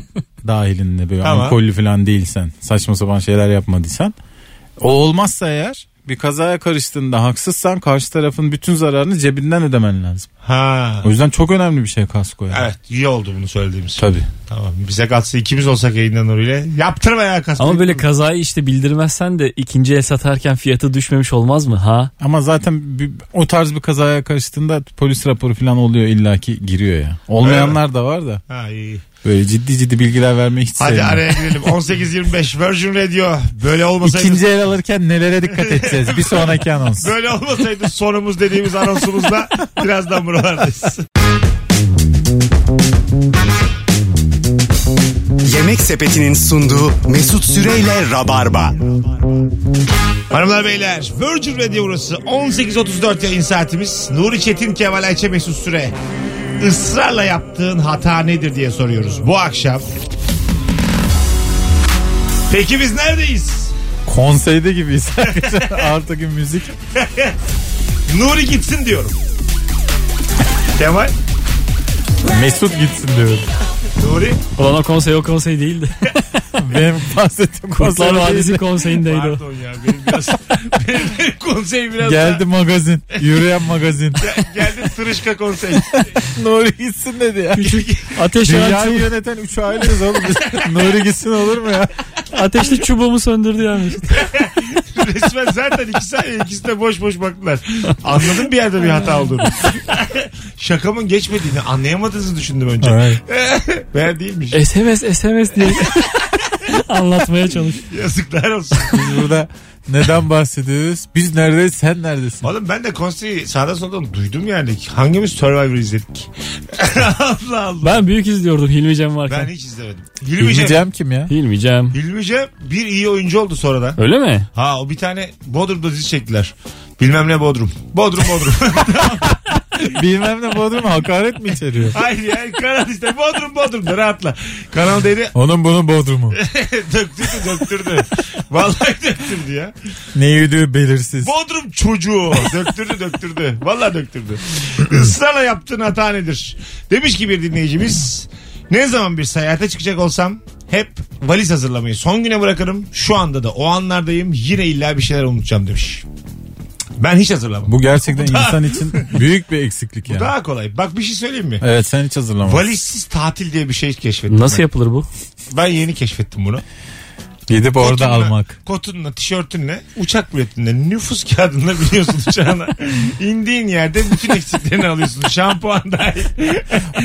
Speaker 4: dahilinde böyle
Speaker 2: Tamam.
Speaker 4: alkollü falan değilsen saçma sapan şeyler yapmadıysan. O olmazsa eğer bir kazaya karıştığında haksızsan karşı tarafın bütün zararını cebinden ödemen lazım.
Speaker 2: Ha.
Speaker 4: O yüzden çok önemli bir şey kasko yani.
Speaker 2: Evet iyi oldu bunu söylediğimiz.
Speaker 4: Tabii.
Speaker 2: Tamam bize kalsa ikimiz olsak yayından Nuri ile. Yaptırma ya kasko.
Speaker 3: Ama böyle kazayı işte bildirmezsen de ikinci el satarken fiyatı düşmemiş olmaz mı? Ha?
Speaker 4: Ama zaten bir- o tarz bir kazaya karıştığında polis raporu falan oluyor illaki giriyor ya. Olmayanlar da var da
Speaker 2: Ha iyi.
Speaker 4: böyle ciddi ciddi bilgiler vermeyi hiç
Speaker 2: Hadi
Speaker 4: sevmiyorum.
Speaker 2: araya girelim. 18.25 Virgin Radio. Böyle olmasaydı
Speaker 4: İkinci el alırken nelere dikkat edeceğiz? Bir sonraki anons.
Speaker 2: böyle olmasaydı sonumuz dediğimiz anonsumuzla birazdan buralardayız.
Speaker 1: Yemek Sepeti'nin sunduğu Mesut Süreyle Rabarba.
Speaker 2: Hanımlar beyler Virgin Radio burası 18.34 yayın saatimiz. Nuri Çetin Kemal Ayçe Mesut Süre. Israrla yaptığın hata nedir diye soruyoruz bu akşam. Peki biz neredeyiz?
Speaker 4: Konseyde gibiyiz. Artık müzik.
Speaker 2: Nuri gitsin diyorum. Kemal,
Speaker 4: Mesut gitsin diyorum.
Speaker 2: Nuri.
Speaker 3: Ulan o konsey o konsey değildi.
Speaker 4: Benim bahsettiğim
Speaker 3: Kurtlar
Speaker 4: konser değil.
Speaker 3: Vadisi konseyindeydi o.
Speaker 2: Pardon ya benim biraz benim, benim konsey biraz
Speaker 4: Geldi magazin. Yürüyen magazin.
Speaker 2: daha- geldi tırışka konsey.
Speaker 4: Nuri gitsin dedi ya.
Speaker 3: Küçük ateş yanan
Speaker 4: Dünyayı
Speaker 3: çubuğu-
Speaker 4: yöneten üç aileyiz oğlum. Biz- Nuri gitsin olur mu ya?
Speaker 3: ateşli çubuğumu söndürdü yani.
Speaker 2: Resmen zaten iki saniye ikisi de boş boş baktılar. Anladım bir yerde bir hata olduğunu. Şakamın geçmediğini anlayamadığınızı düşündüm önce.
Speaker 4: Evet.
Speaker 2: Meğer değilmiş.
Speaker 3: E- SMS SMS diye anlatmaya çalış.
Speaker 2: Yazıklar olsun.
Speaker 4: Biz burada neden bahsediyoruz? Biz neredeyiz sen neredesin?
Speaker 2: Oğlum ben de konseyi sağdan soldan duydum yani. Hangimiz Survivor izledik? Allah Allah.
Speaker 3: Ben büyük izliyordum Hilmi Cem
Speaker 2: Ben
Speaker 3: varken.
Speaker 2: hiç izlemedim. Hilmice.
Speaker 4: Bilmeyeceğim kim ya?
Speaker 3: Hilmi Cem.
Speaker 2: Hilmice bir iyi oyuncu oldu sonradan.
Speaker 3: Öyle mi?
Speaker 2: Ha o bir tane Bodrum'da dizi çektiler. Bilmem ne Bodrum. Bodrum Bodrum.
Speaker 4: Bilmem ne Bodrum hakaret mi içeriyor?
Speaker 2: hayır hayır kanal işte Bodrum Bodrum'da rahatla. Kanal dedi
Speaker 4: Onun bunun Bodrum'u.
Speaker 2: döktürdü döktürdü. Vallahi döktürdü ya.
Speaker 4: Ne yürüdüğü belirsiz.
Speaker 2: Bodrum çocuğu. Döktürdü döktürdü. Vallahi döktürdü. Israrla yaptığın hata nedir? Demiş ki bir dinleyicimiz. Ne zaman bir seyahate çıkacak olsam hep valiz hazırlamayı son güne bırakırım. Şu anda da o anlardayım. Yine illa bir şeyler unutacağım demiş. Ben hiç hazırlamam.
Speaker 4: Bu gerçekten insan için büyük bir eksiklik yani.
Speaker 2: Daha kolay. Bak bir şey söyleyeyim mi?
Speaker 4: Evet sen hiç hazırlamadın.
Speaker 2: Valizsiz tatil diye bir şey keşfettim.
Speaker 3: Nasıl
Speaker 2: ben.
Speaker 3: yapılır bu?
Speaker 2: Ben yeni keşfettim bunu.
Speaker 4: Gidip orada
Speaker 2: Kotunla-
Speaker 4: almak.
Speaker 2: Kotunla, tişörtünle, uçak biletinle, nüfus kağıdınla biniyorsun uçağına. İndiğin yerde bütün eksiklerini alıyorsun. Şampuan dahil.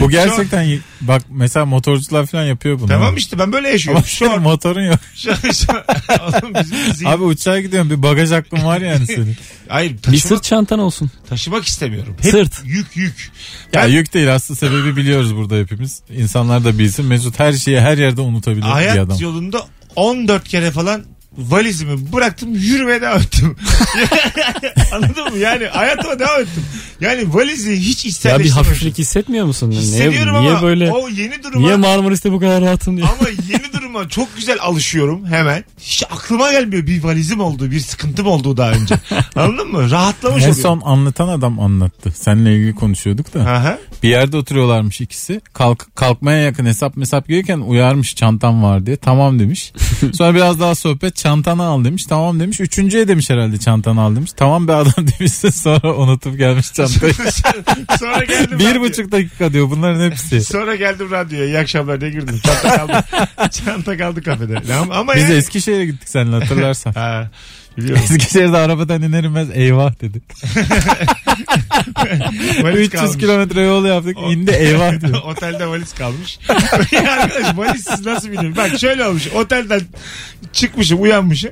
Speaker 4: Bu gerçekten bak mesela motorcular falan yapıyor bunu.
Speaker 2: tamam işte ben böyle
Speaker 4: Ama
Speaker 2: yaşıyorum.
Speaker 4: senin
Speaker 2: Şort,
Speaker 4: motorun yok.
Speaker 2: şort, şort. Oğlum bizim zihin-
Speaker 4: Abi uçağa gidiyorum bir bagaj aklım var yani senin.
Speaker 2: Hayır
Speaker 3: Bir
Speaker 2: taşımak,
Speaker 3: sırt çantan olsun.
Speaker 2: taşımak istemiyorum. Hep
Speaker 3: Sırt.
Speaker 2: Yük yük.
Speaker 4: Ya
Speaker 2: Ben-
Speaker 4: yük değil aslında sebebi biliyoruz burada hepimiz. İnsanlar da bilsin Mesut her şeyi her yerde unutabilir bir adam.
Speaker 2: Hayat yolunda 14 kere falan valizimi bıraktım yürümeye devam ettim. Anladın mı? Yani hayatıma devam ettim. Yani valizi hiç
Speaker 3: Ya bir
Speaker 2: içselleştirmemiştim.
Speaker 3: hafiflik hissetmiyor musun? Niye,
Speaker 2: Hissediyorum
Speaker 3: niye
Speaker 2: ama
Speaker 3: böyle?
Speaker 2: o yeni duruma
Speaker 3: Niye Marmaris'te bu kadar rahatım diye.
Speaker 2: ama yeni duruma çok güzel alışıyorum hemen. Hiç aklıma gelmiyor bir valizim olduğu, bir sıkıntım olduğu daha önce. Anladın mı? Rahatlamış
Speaker 4: En
Speaker 2: oluyorum.
Speaker 4: son anlatan adam anlattı. Seninle ilgili konuşuyorduk da.
Speaker 2: Aha.
Speaker 4: Bir yerde oturuyorlarmış ikisi. Kalk, kalkmaya yakın hesap mesap görürken uyarmış çantam var diye. Tamam demiş. Sonra biraz daha sohbet çantanı al demiş. Tamam demiş. Üçüncüye demiş herhalde çantanı al demiş. Tamam be adam demişse sonra unutup gelmiş çantayı.
Speaker 2: Sonra geldim.
Speaker 4: bir
Speaker 2: radyo-
Speaker 4: buçuk dakika diyor bunların hepsi.
Speaker 2: Sonra geldim radyoya. İyi akşamlar ne girdim. Çanta kaldı. Çanta kaldı kafede. Ne Ama, ama
Speaker 4: Biz
Speaker 2: yani-
Speaker 4: Eskişehir'e gittik seninle hatırlarsan.
Speaker 2: Ha, biliyorum.
Speaker 4: Eskişehir'de arabadan iner inmez eyvah dedi.
Speaker 2: Valiz
Speaker 4: 300
Speaker 2: kalmış.
Speaker 4: kilometre yol yaptık
Speaker 2: O-
Speaker 4: indi eyvah diyor.
Speaker 2: Otelde valiz kalmış. Ya Arkadaş valizsiz nasıl biniyorum? Bak şöyle olmuş. Otelden çıkmışım uyanmışım.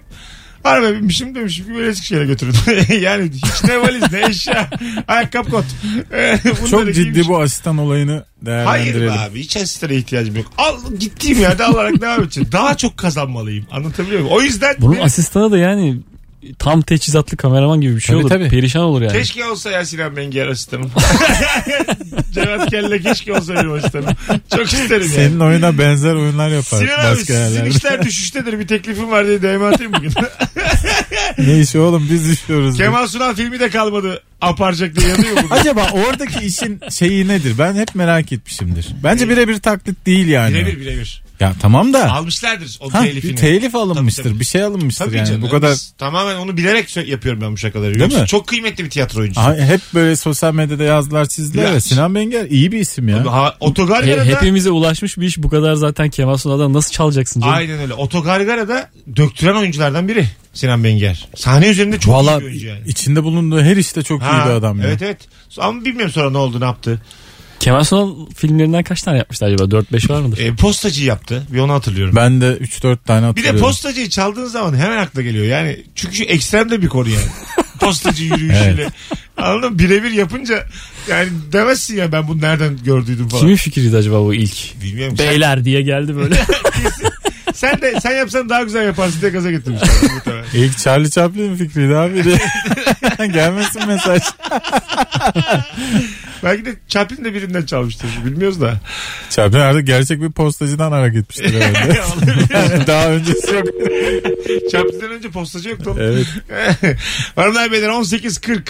Speaker 2: Araba binmişim demişim ki böyle Eskişehir'e götürün. yani hiç ne valiz ne eşya. Ayakkabı kot. Ee, Bunları
Speaker 4: Çok ciddi
Speaker 2: giymişim.
Speaker 4: bu asistan olayını
Speaker 2: Hayır
Speaker 4: değerlendirelim.
Speaker 2: be abi hiç asistana ihtiyacım yok. Al gittiğim yerde alarak devam edeceğim. Daha çok kazanmalıyım. Anlatabiliyor muyum? O yüzden
Speaker 3: Bunun
Speaker 2: benim-
Speaker 3: asistanı da yani tam teçhizatlı kameraman gibi bir şey
Speaker 4: Tabii,
Speaker 3: olur.
Speaker 4: tabii.
Speaker 3: Perişan olur yani.
Speaker 2: Keşke olsa ya Sinan Mengiyer asistanım. Cevat Kelle keşke olsa benim asistanım. Çok isterim yani.
Speaker 4: Senin oyuna benzer oyunlar yapar
Speaker 2: Sinan abi
Speaker 4: başka
Speaker 2: sizin
Speaker 4: yerlerde.
Speaker 2: işler düşüştedir bir teklifim var diye DM atayım bugün.
Speaker 4: Ne işi oğlum biz düşüyoruz.
Speaker 2: Kemal Sunal filmi de kalmadı. Aparacak diye yazıyor bugün.
Speaker 4: Acaba oradaki işin şeyi nedir? Ben hep merak etmişimdir. Bence birebir taklit değil yani.
Speaker 2: Ee, Birebir birebir.
Speaker 4: Ya tamam da.
Speaker 2: Almışlardır o
Speaker 4: Ah. Ha,
Speaker 2: telifini.
Speaker 4: bir telif alınmıştır.
Speaker 2: Tabii, tabii.
Speaker 4: Bir şey alınmıştır
Speaker 2: Tabii
Speaker 4: yani.
Speaker 2: canım.
Speaker 4: Bu kadar
Speaker 2: Biz Tamamen onu bilerek sö- yapıyorum ben bu şakaları.
Speaker 4: Değil
Speaker 2: Yoksa
Speaker 4: mi?
Speaker 2: Çok kıymetli bir tiyatro oyuncusu.
Speaker 4: Ha, hep böyle sosyal medyada yazdılar çizdiler.
Speaker 2: Ya.
Speaker 4: ya. Sinan Benger iyi bir isim ya.
Speaker 2: Ha,
Speaker 3: He-
Speaker 2: otogargara'da...
Speaker 3: hepimize ulaşmış bir iş bu kadar zaten Kemal Sunal'dan nasıl çalacaksın canım?
Speaker 2: Aynen öyle. Otogargara'da döktüren oyunculardan biri Sinan Benger. Sahne üzerinde çok iyi
Speaker 4: Valla
Speaker 2: bir oyuncu yani.
Speaker 4: içinde bulunduğu her işte çok iyi bir adam ya.
Speaker 2: Evet evet. Ama bilmiyorum sonra ne oldu ne yaptı.
Speaker 3: Kemal Sunal filmlerinden kaç tane yapmıştı acaba? 4-5 var mıdır?
Speaker 2: E, postacı yaptı. Bir onu hatırlıyorum.
Speaker 4: Ben de 3-4 tane
Speaker 2: Bir de
Speaker 4: hatırlıyorum.
Speaker 2: postacıyı çaldığın zaman hemen akla geliyor. Yani çünkü şu ekstrem de bir konu yani. Postacı yürüyüşüyle. Anladın mı? Birebir yapınca yani demezsin ya ben bunu nereden gördüydüm falan.
Speaker 3: Kimin fikriydi acaba bu ilk?
Speaker 2: Bilmiyorum. Sen,
Speaker 3: Beyler diye geldi böyle.
Speaker 2: sen de sen yapsan daha güzel yaparsın diye gaza getirmiş.
Speaker 4: İlk Charlie Chaplin fikriydi abi. Gelmesin mesaj.
Speaker 2: Belki de Chaplin de birinden çalmıştır. Bilmiyoruz da.
Speaker 4: Chaplin artık gerçek bir postacıdan hareket etmiştir herhalde. Daha öncesi yok.
Speaker 2: Chaplin'den önce postacı yoktu. oğlum.
Speaker 4: Evet.
Speaker 2: Hanımlar beyler 18.40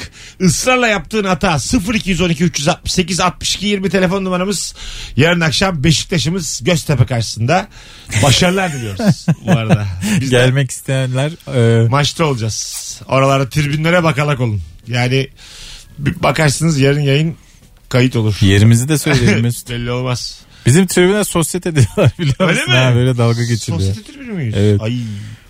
Speaker 2: ısrarla yaptığın hata 0212 368 62 20 telefon numaramız. Yarın akşam Beşiktaş'ımız Göztepe karşısında. Başarılar diliyoruz bu arada. Biz de
Speaker 4: Gelmek isteyenler e,
Speaker 2: maçta olacağız. Oralarda tribünlere bakalak olun. Yani bir bakarsınız yarın yayın kayıt olur.
Speaker 4: yerimizi de söyleyelim Mesut.
Speaker 2: Belli olmaz.
Speaker 4: Bizim tribüne sosyete diyorlar biliyor
Speaker 2: Öyle
Speaker 4: musun?
Speaker 2: mi?
Speaker 4: Ha, böyle dalga geçiliyor.
Speaker 2: Sosyete tribünü müyüz?
Speaker 4: Evet.
Speaker 2: Ay.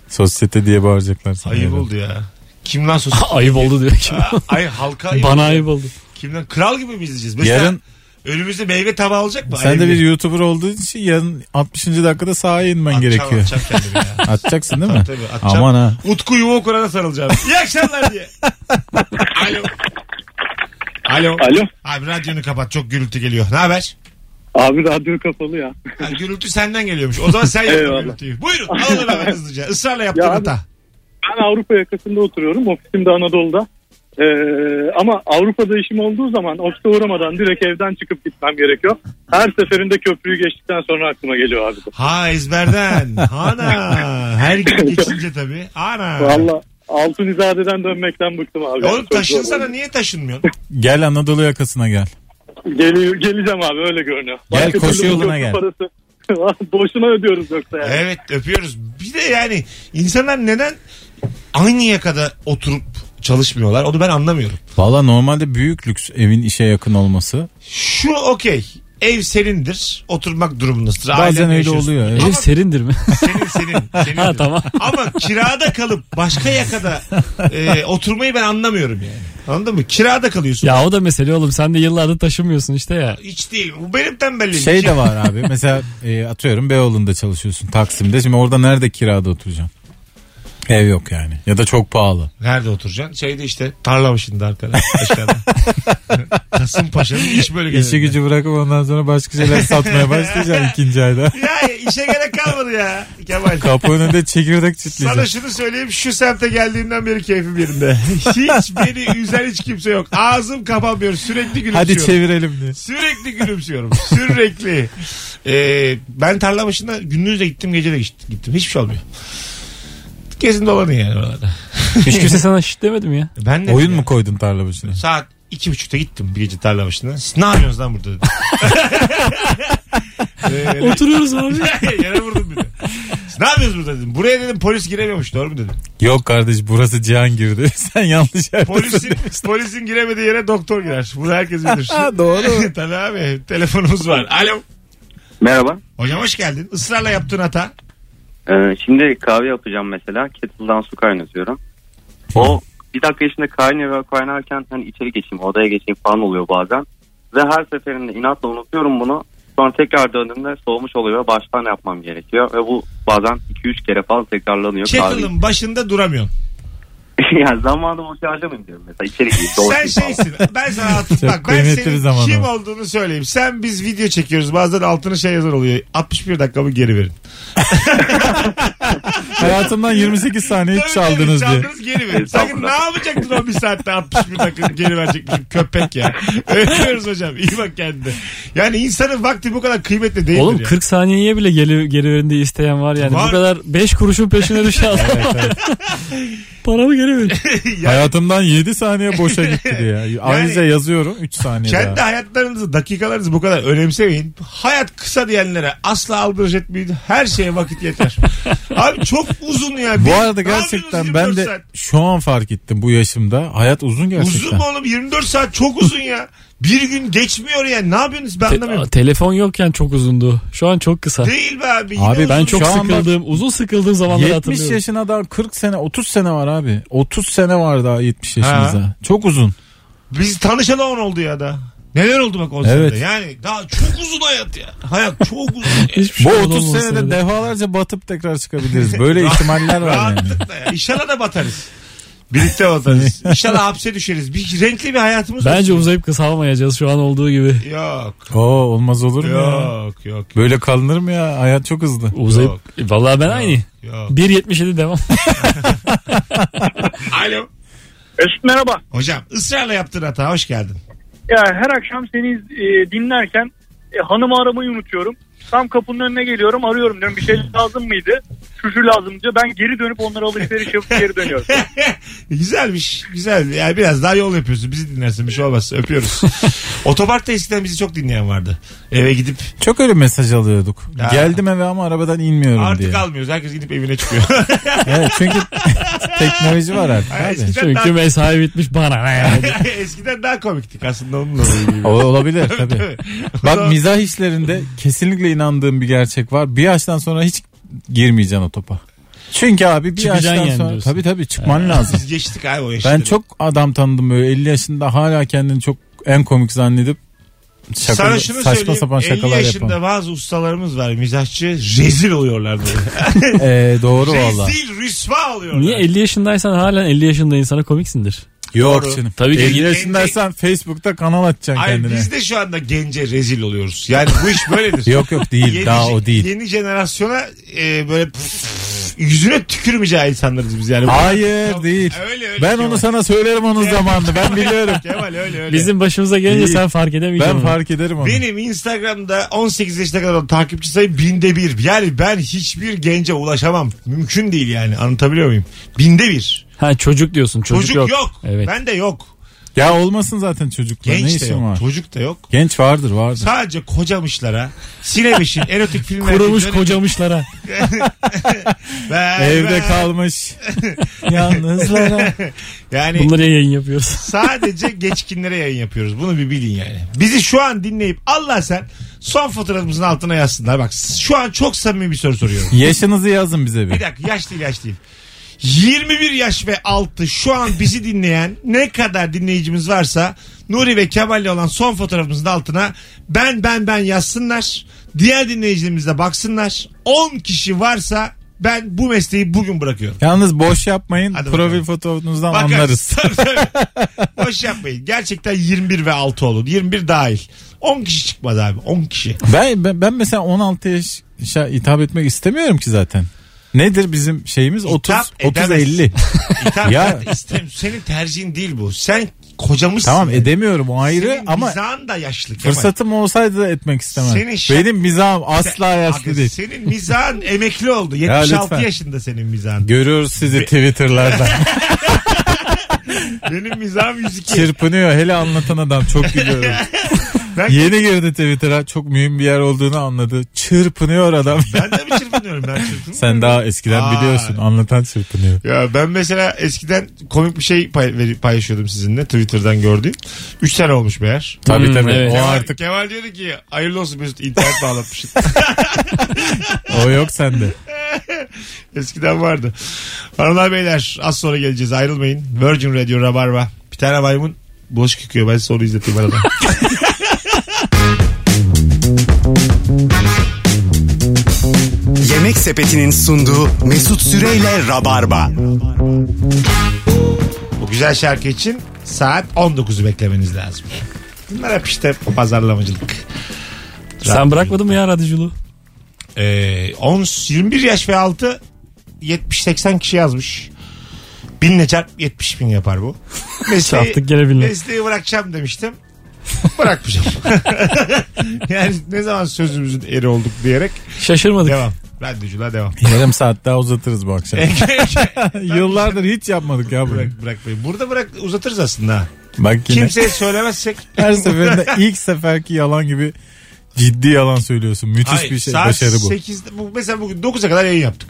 Speaker 4: Sosyete diye bağıracaklar sana.
Speaker 2: Ayıp
Speaker 4: herhalde.
Speaker 2: oldu ya. Kim lan sos?
Speaker 3: ayıp oldu diyor ki.
Speaker 2: Ay halka ayıp.
Speaker 3: Bana ayıp oldu.
Speaker 2: Kim lan? Kral gibi mi izleyeceğiz? Mesela
Speaker 4: Yarın
Speaker 2: önümüzde meyve tabağı olacak mı?
Speaker 4: sen de bir YouTuber olduğun için yarın 60. dakikada sahaya inmen gerekiyor.
Speaker 2: Atacağım kendimi ya.
Speaker 4: Atacaksın değil mi?
Speaker 2: Tabii, atacağım.
Speaker 4: Aman ha.
Speaker 2: Utku yuva kurana sarılacağım. İyi akşamlar diye. Alo. Alo.
Speaker 6: Alo.
Speaker 2: Abi radyonu kapat çok gürültü geliyor. Ne haber?
Speaker 6: Abi radyo kapalı ya.
Speaker 2: Ha, gürültü senden geliyormuş. O zaman sen yapma
Speaker 6: Eyvallah.
Speaker 2: gürültüyü. Buyurun alalım hemen hızlıca. Israrla yaptığın
Speaker 6: Ya abi-
Speaker 2: hata.
Speaker 6: Ben Avrupa yakasında oturuyorum. Ofisim de Anadolu'da. Ee, ama Avrupa'da işim olduğu zaman ofise uğramadan direkt evden çıkıp gitmem gerekiyor. Her seferinde köprüyü geçtikten sonra aklıma geliyor abi. bu.
Speaker 2: Ha ezberden. Ana. Her gün geçince tabii. Ana.
Speaker 6: Valla altın izadeden dönmekten bıktım abi.
Speaker 2: Oğlum
Speaker 6: Çok
Speaker 2: taşınsana
Speaker 6: zor.
Speaker 2: niye taşınmıyorsun?
Speaker 4: Gel Anadolu yakasına gel.
Speaker 6: Geliyor, geleceğim abi öyle görünüyor.
Speaker 4: Gel,
Speaker 6: Başka
Speaker 4: koşu
Speaker 6: türlü bu
Speaker 4: yoluna
Speaker 6: köprü
Speaker 4: gel.
Speaker 6: Parası. Boşuna ödüyoruz yoksa yani.
Speaker 2: evet öpüyoruz. Bir de yani insanlar neden aynı yakada oturup çalışmıyorlar onu ben anlamıyorum.
Speaker 4: Valla normalde büyük lüks evin işe yakın olması.
Speaker 2: Şu okey. Ev senindir. Oturmak durumundasın.
Speaker 4: Bazen
Speaker 2: ailenle
Speaker 4: öyle
Speaker 2: yaşıyorsun.
Speaker 4: oluyor. evet.
Speaker 3: Ev serindir mi?
Speaker 2: Senin senin. senin
Speaker 3: ha tamam.
Speaker 2: Ama kirada kalıp başka yakada e, oturmayı ben anlamıyorum yani. Anladın mı? Kirada kalıyorsun.
Speaker 3: Ya o da mesele oğlum sen de yıllardır taşımıyorsun işte ya.
Speaker 2: Hiç değil. Bu benim tembelliğim.
Speaker 4: Şey de var abi mesela e, atıyorum Beyoğlu'nda çalışıyorsun Taksim'de. Şimdi orada nerede kirada oturacaksın? Ev yok yani. Ya da çok pahalı.
Speaker 2: Nerede oturacaksın? Şeyde işte tarla başında arkada. Aşağıda. Kasımpaşa'nın iş bölgesinde.
Speaker 4: İşi gücü bırakıp ondan sonra başka şeyler satmaya başlayacaksın ikinci ayda.
Speaker 2: Ya işe gerek kalmadı ya Kemal.
Speaker 4: Kapı önünde çekirdek
Speaker 2: Sana
Speaker 4: çitleyeceksin.
Speaker 2: şunu söyleyeyim şu semte geldiğimden beri keyfim yerinde. Hiç beni üzen hiç kimse yok. Ağzım kapanmıyor sürekli gülümsüyorum.
Speaker 4: Hadi çevirelim diye.
Speaker 2: Sürekli gülümsüyorum. Sürekli. Ee, ben tarla başında gündüz de gittim gece de git- gittim. Hiçbir şey olmuyor. Kesin dolanın yani oralarda.
Speaker 3: Hiç kimse sana şit demedi mi ya?
Speaker 2: Ben de
Speaker 4: Oyun mu koydun tarla başına?
Speaker 2: Saat iki buçukta gittim bir gece tarla başına. Siz ne yapıyorsunuz lan burada dedim. Ee,
Speaker 3: Oturuyoruz abi.
Speaker 2: Yere vurdum bir de. Siz ne yapıyorsunuz burada dedim. Buraya dedim polis giremiyormuş doğru mu dedim.
Speaker 4: Yok kardeş burası Cihan girdi. Sen yanlış yerdesin.
Speaker 2: Polisin, polisin giremediği yere doktor girer. Bunu herkes bilir.
Speaker 4: Ha, doğru.
Speaker 2: Tabii abi telefonumuz var. Alo.
Speaker 7: Merhaba.
Speaker 2: Hocam hoş geldin. Israrla yaptığın hata.
Speaker 7: Ee, şimdi kahve yapacağım mesela. Kettle'dan su kaynatıyorum. O bir dakika içinde kaynıyor ve kaynarken hani içeri geçeyim, odaya geçeyim falan oluyor bazen. Ve her seferinde inatla unutuyorum bunu. Sonra tekrar döndüğümde soğumuş oluyor. Baştan yapmam gerekiyor. Ve bu bazen 2-3 kere falan tekrarlanıyor. kahve.
Speaker 2: Kettle'ın başında duramıyorsun.
Speaker 7: yani zamanı boş harcamayayım diyorum mesela. İçeri gireyim.
Speaker 2: Sen şey
Speaker 7: dolaşayım falan.
Speaker 2: şeysin. Ben sana
Speaker 4: Çok
Speaker 2: altın bak. Ben
Speaker 4: kıymetli
Speaker 2: senin
Speaker 4: bir zaman
Speaker 2: kim
Speaker 4: o.
Speaker 2: olduğunu söyleyeyim. Sen biz video çekiyoruz. Bazen altına şey yazar oluyor. 61 dakikamı geri verin.
Speaker 4: Hayatımdan 28 saniye
Speaker 2: Tabii
Speaker 4: çaldınız
Speaker 2: tabii,
Speaker 4: diye.
Speaker 2: çaldınız geri verin. Sakın ne
Speaker 7: Estağfurullah.
Speaker 2: yapacaktın o bir saatte 61 dakikamı geri verecekmişim köpek ya. Öpüyoruz hocam. İyi bak kendine. Yani insanın vakti bu kadar kıymetli değildir
Speaker 3: Oğlum
Speaker 2: ya.
Speaker 3: 40 saniyeye bile geri, geri verin diye isteyen var yani.
Speaker 2: Var.
Speaker 3: Bu kadar 5 kuruşun peşine düşen adam. Paramı geri verin.
Speaker 4: Hayatımdan 7 saniye boşa gitti diye. Ayrıca yazıyorum 3 saniye
Speaker 2: Kendi
Speaker 4: daha.
Speaker 2: hayatlarınızı, dakikalarınızı bu kadar önemsemeyin. Hayat kısa diyenlere asla aldırış etmeyin. Her şeye vakit yeter. Abi çok uzun ya.
Speaker 4: Bu
Speaker 2: Bir-
Speaker 4: arada
Speaker 2: ne
Speaker 4: gerçekten
Speaker 2: yapıyorsunuz
Speaker 4: ben
Speaker 2: 24
Speaker 4: de
Speaker 2: saat?
Speaker 4: şu an fark ettim bu yaşımda. Hayat uzun
Speaker 2: Uzun
Speaker 4: gerçekten.
Speaker 2: mu oğlum? 24 saat çok uzun ya. Bir gün geçmiyor ya. Ne yapıyorsunuz? Ben
Speaker 3: Te-
Speaker 2: anlamıyorum.
Speaker 3: telefon yokken çok uzundu. Şu an çok kısa.
Speaker 2: Değil be abi. Yine
Speaker 4: Abi ben
Speaker 2: uzun.
Speaker 3: Ben çok
Speaker 4: Şu an bak-
Speaker 3: sıkıldığım, uzun sıkıldığım zamanları
Speaker 4: 70
Speaker 3: hatırlıyorum.
Speaker 4: yaşına daha 40 sene 30 sene var abi. 30 sene var daha 70 yaşımıza. Çok uzun.
Speaker 2: Biz tanışalı 10 oldu ya da. Neler oldu bak o
Speaker 4: Evet.
Speaker 2: sene? Yani daha çok uzun hayat ya. Hayat çok uzun. ya.
Speaker 3: Hiçbir
Speaker 4: Bu
Speaker 3: şey
Speaker 4: 30
Speaker 3: olmaması
Speaker 4: senede
Speaker 3: öyle.
Speaker 4: defalarca batıp tekrar çıkabiliriz. Böyle ihtimaller var yani.
Speaker 2: Rahatlıkla ya. İnşallah da batarız. Birlikte batarız.
Speaker 4: Hani.
Speaker 2: İnşallah hapse düşeriz. Bir renkli bir hayatımız
Speaker 3: Bence
Speaker 2: olsun.
Speaker 3: uzayıp kısalmayacağız şu an olduğu gibi.
Speaker 2: Yok.
Speaker 4: Oo olmaz olur mu ya?
Speaker 2: Yok yok.
Speaker 4: Böyle kalınır mı ya? Hayat çok hızlı.
Speaker 3: Uzayıp
Speaker 2: Yok.
Speaker 3: vallahi ben aynı.
Speaker 2: Yok.
Speaker 3: 1.77 devam.
Speaker 2: Alo.
Speaker 6: Mesut merhaba.
Speaker 2: Hocam ısrarla yaptığın hata hoş geldin.
Speaker 6: Ya her akşam seni e, dinlerken e, hanımı aramayı unutuyorum. Tam kapının önüne geliyorum arıyorum diyorum bir şey lazım mıydı? Şu şu lazım diyor. Ben geri dönüp onlara alışveriş yapıp geri dönüyorum.
Speaker 2: Güzelmiş. Güzel. Yani biraz daha yol yapıyorsun. Bizi dinlersin. Bir şey olmaz. Öpüyoruz. Otoparkta eskiden bizi çok dinleyen vardı. Eve gidip
Speaker 4: Çok öyle mesaj alıyorduk.
Speaker 2: Ya.
Speaker 4: Geldim eve ama arabadan inmiyorum
Speaker 2: artık
Speaker 4: diye.
Speaker 2: almıyoruz. Herkes gidip evine çıkıyor.
Speaker 4: Evet, çünkü teknoloji var artık
Speaker 2: Ay,
Speaker 4: abi.
Speaker 2: eskiden,
Speaker 3: Çünkü
Speaker 2: daha,
Speaker 3: mesai bitmiş bana. ne yani?
Speaker 2: eskiden daha komiktik aslında onun da olduğu gibi.
Speaker 4: O- olabilir tabii.
Speaker 2: Tabii.
Speaker 4: Bak mizah işlerinde kesinlikle inandığım bir gerçek var. Bir yaştan sonra hiç girmeyeceksin o topa. Çünkü abi bir
Speaker 3: Çıkacaksın
Speaker 4: yaştan
Speaker 3: yani
Speaker 4: sonra
Speaker 3: diyorsun.
Speaker 4: tabii tabii çıkman lazım.
Speaker 2: Biz geçtik abi o yaşları.
Speaker 4: Ben çok adam tanıdım böyle 50 yaşında hala kendini çok en komik zannedip şaka,
Speaker 2: Sana şunu
Speaker 4: saçma
Speaker 2: söyleyeyim.
Speaker 4: sapan
Speaker 2: 50
Speaker 4: şakalar
Speaker 2: yaşında
Speaker 4: yapan.
Speaker 2: bazı ustalarımız var mizahçı. Rezil oluyorlar böyle.
Speaker 4: Ee, doğru valla.
Speaker 2: rezil rüsva oluyorlar.
Speaker 3: Niye 50 yaşındaysan halen 50 yaşında insana komiksindir.
Speaker 4: Yok
Speaker 2: Doğru.
Speaker 4: canım.
Speaker 3: Tabii ki.
Speaker 4: 50 yaşındaysan Facebook'ta kanal açacaksın
Speaker 2: Ay
Speaker 4: kendine.
Speaker 2: biz de şu anda gence rezil oluyoruz. Yani bu iş böyledir.
Speaker 4: Yok yok değil
Speaker 2: Yeni
Speaker 4: daha
Speaker 2: je-
Speaker 4: o değil.
Speaker 2: Yeni jenerasyona e, böyle pf- yüzüne tükürmeyeceği insanlarız biz yani.
Speaker 4: Hayır değil.
Speaker 2: Öyle öyle.
Speaker 4: Ben
Speaker 2: Kemal.
Speaker 4: onu sana söylerim onun zamanını ben biliyorum.
Speaker 2: Kemal öyle öyle.
Speaker 3: Bizim başımıza gelince
Speaker 4: İyi.
Speaker 3: sen fark edemeyeceksin.
Speaker 4: Ben
Speaker 3: onu.
Speaker 4: fark ederim onu.
Speaker 2: Benim Instagram'da 18 yaşına kadar olan takipçi sayım binde bir. Yani ben hiçbir gence ulaşamam. Mümkün değil yani anlatabiliyor muyum? Binde bir.
Speaker 3: Ha çocuk diyorsun. Çocuk,
Speaker 2: Çocuk, yok.
Speaker 3: Evet.
Speaker 2: Ben de yok.
Speaker 4: Ya olmasın zaten çocukla ne
Speaker 2: Genç de
Speaker 4: işin
Speaker 2: yok.
Speaker 4: var?
Speaker 2: Çocuk da yok.
Speaker 4: Genç vardır vardır.
Speaker 2: Sadece kocamışlara, sinemişin, erotik filmlerde
Speaker 3: Kurumuş
Speaker 2: dönüp-
Speaker 3: kocamışlara.
Speaker 2: Ben-
Speaker 4: Evde
Speaker 2: ben-
Speaker 4: kalmış. Yalnızlara.
Speaker 2: Yani
Speaker 3: Bunları yayın yapıyoruz.
Speaker 2: sadece geçkinlere yayın yapıyoruz. Bunu bir bilin yani. Bizi şu an dinleyip Allah sen son fotoğrafımızın altına yazsınlar. Bak şu an çok samimi bir soru soruyorum.
Speaker 4: Yaşınızı yazın bize
Speaker 2: Bir
Speaker 4: bir.
Speaker 2: dakika yaş değil yaş değil. 21 yaş ve altı şu an bizi dinleyen ne kadar dinleyicimiz varsa Nuri ve Kemal'le olan son fotoğrafımızın altına ben ben ben yazsınlar. Diğer dinleyicilerimiz de baksınlar. 10 kişi varsa ben bu mesleği bugün bırakıyorum.
Speaker 4: Yalnız boş yapmayın.
Speaker 2: Hadi bakalım.
Speaker 4: Profil fotoğrafınızdan
Speaker 2: Bakarız.
Speaker 4: anlarız.
Speaker 2: Tabii, tabii. Boş yapmayın. Gerçekten 21 ve 6 olun. 21 dahil. 10 kişi çıkmaz abi. 10 kişi.
Speaker 4: Ben, ben, ben mesela 16 yaşa hitap etmek istemiyorum ki zaten. Nedir bizim şeyimiz? 30
Speaker 2: Hitap
Speaker 4: 30
Speaker 2: edemez.
Speaker 4: 50.
Speaker 2: İtham
Speaker 4: Ya.
Speaker 2: ya. Senin tercihin değil bu. Sen kocamışsın.
Speaker 4: tamam
Speaker 2: Yani.
Speaker 4: edemiyorum o ayrı
Speaker 2: Senin
Speaker 4: ama
Speaker 2: mizahın da yaşlı. Kemal.
Speaker 4: fırsatım olsaydı da etmek istemem.
Speaker 2: Senin şak-
Speaker 4: Benim mizahım asla
Speaker 2: Aga,
Speaker 4: yaşlı değil.
Speaker 2: Senin mizahın emekli oldu.
Speaker 4: Ya
Speaker 2: 76
Speaker 4: lütfen.
Speaker 2: yaşında senin mizahın.
Speaker 4: Görüyoruz sizi Twitter'larda.
Speaker 2: Benim mizahım 102.
Speaker 4: Çırpınıyor hele anlatan adam çok gülüyorum.
Speaker 2: Ben,
Speaker 4: Yeni girdi Twitter'a çok mühim bir yer olduğunu anladı. Çırpınıyor adam.
Speaker 2: ben de mi çırpınıyorum? Ben çırpınmıyorum.
Speaker 4: Sen daha eskiden
Speaker 2: Aa.
Speaker 4: biliyorsun anlatan çırpınıyor.
Speaker 2: Ya ben mesela eskiden komik bir şey pay- veri- paylaşıyordum sizinle Twitter'dan gördüğüm. 3 sene olmuş meğer.
Speaker 4: Tabii
Speaker 3: Hmm,
Speaker 4: tabii
Speaker 3: evet.
Speaker 4: o
Speaker 2: Kemal,
Speaker 4: artık
Speaker 2: Kemal diyordu ki hayırlı olsun Mesut internet bağlatmışsın.
Speaker 4: o yok sende.
Speaker 2: Eskiden vardı. Hanımlar beyler az sonra geleceğiz ayrılmayın. Virgin Radio Rabarba. Bir tane maymun boş küküyor ben size onu izleteyim arada.
Speaker 1: Yemek Sepeti'nin sunduğu Mesut Süreyle Rabarba.
Speaker 2: Bu güzel şarkı için saat 19'u beklemeniz lazım. Bunlar hep işte pazarlamacılık.
Speaker 3: sen bırakmadın mı ya radyoculuğu?
Speaker 2: Ee, 10, 21 yaş ve altı 70-80 kişi yazmış. Binle çarp 70 bin yapar bu. Ee,
Speaker 3: Çarptık gene binle.
Speaker 2: Mesleği bırakacağım demiştim. Bırakmayacağım. yani ne zaman sözümüzün eri olduk diyerek
Speaker 3: Şaşırmadık.
Speaker 2: devam. Radyoculuğa devam.
Speaker 4: Yarım saat daha uzatırız bu akşam. Yıllardır hiç yapmadık ya bunu.
Speaker 2: bırak, bırakmayın. Burada bırak uzatırız aslında. ha.
Speaker 4: Bak yine
Speaker 2: Kimseye söylemezsek.
Speaker 4: her seferinde ilk seferki yalan gibi ciddi yalan söylüyorsun. Müthiş
Speaker 2: Hayır,
Speaker 4: bir şey
Speaker 2: saat
Speaker 4: başarı bu.
Speaker 2: 8'de bu mesela bugün 9'a kadar yayın yaptık.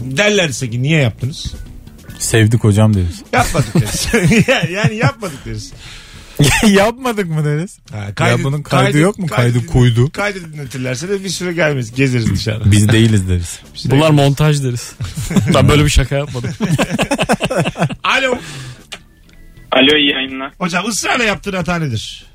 Speaker 2: Derlerse ki niye yaptınız?
Speaker 4: Sevdik hocam deriz.
Speaker 2: Yapmadık deriz. Ya- yani yapmadık deriz.
Speaker 4: Yapmadık mı deriz?
Speaker 2: Ha,
Speaker 4: ya bunun kaydı, yok mu? Kaydı,
Speaker 2: din-
Speaker 4: koydu.
Speaker 2: Kaydı dinletirlerse de bir süre gelmeyiz. Gezeriz dışarıda.
Speaker 4: Biz değiliz deriz.
Speaker 3: Bunlar montaj deriz. ben böyle bir şaka yapmadım.
Speaker 2: Alo.
Speaker 6: Alo iyi yayınlar.
Speaker 2: Hocam ısrarla yaptığın hata nedir?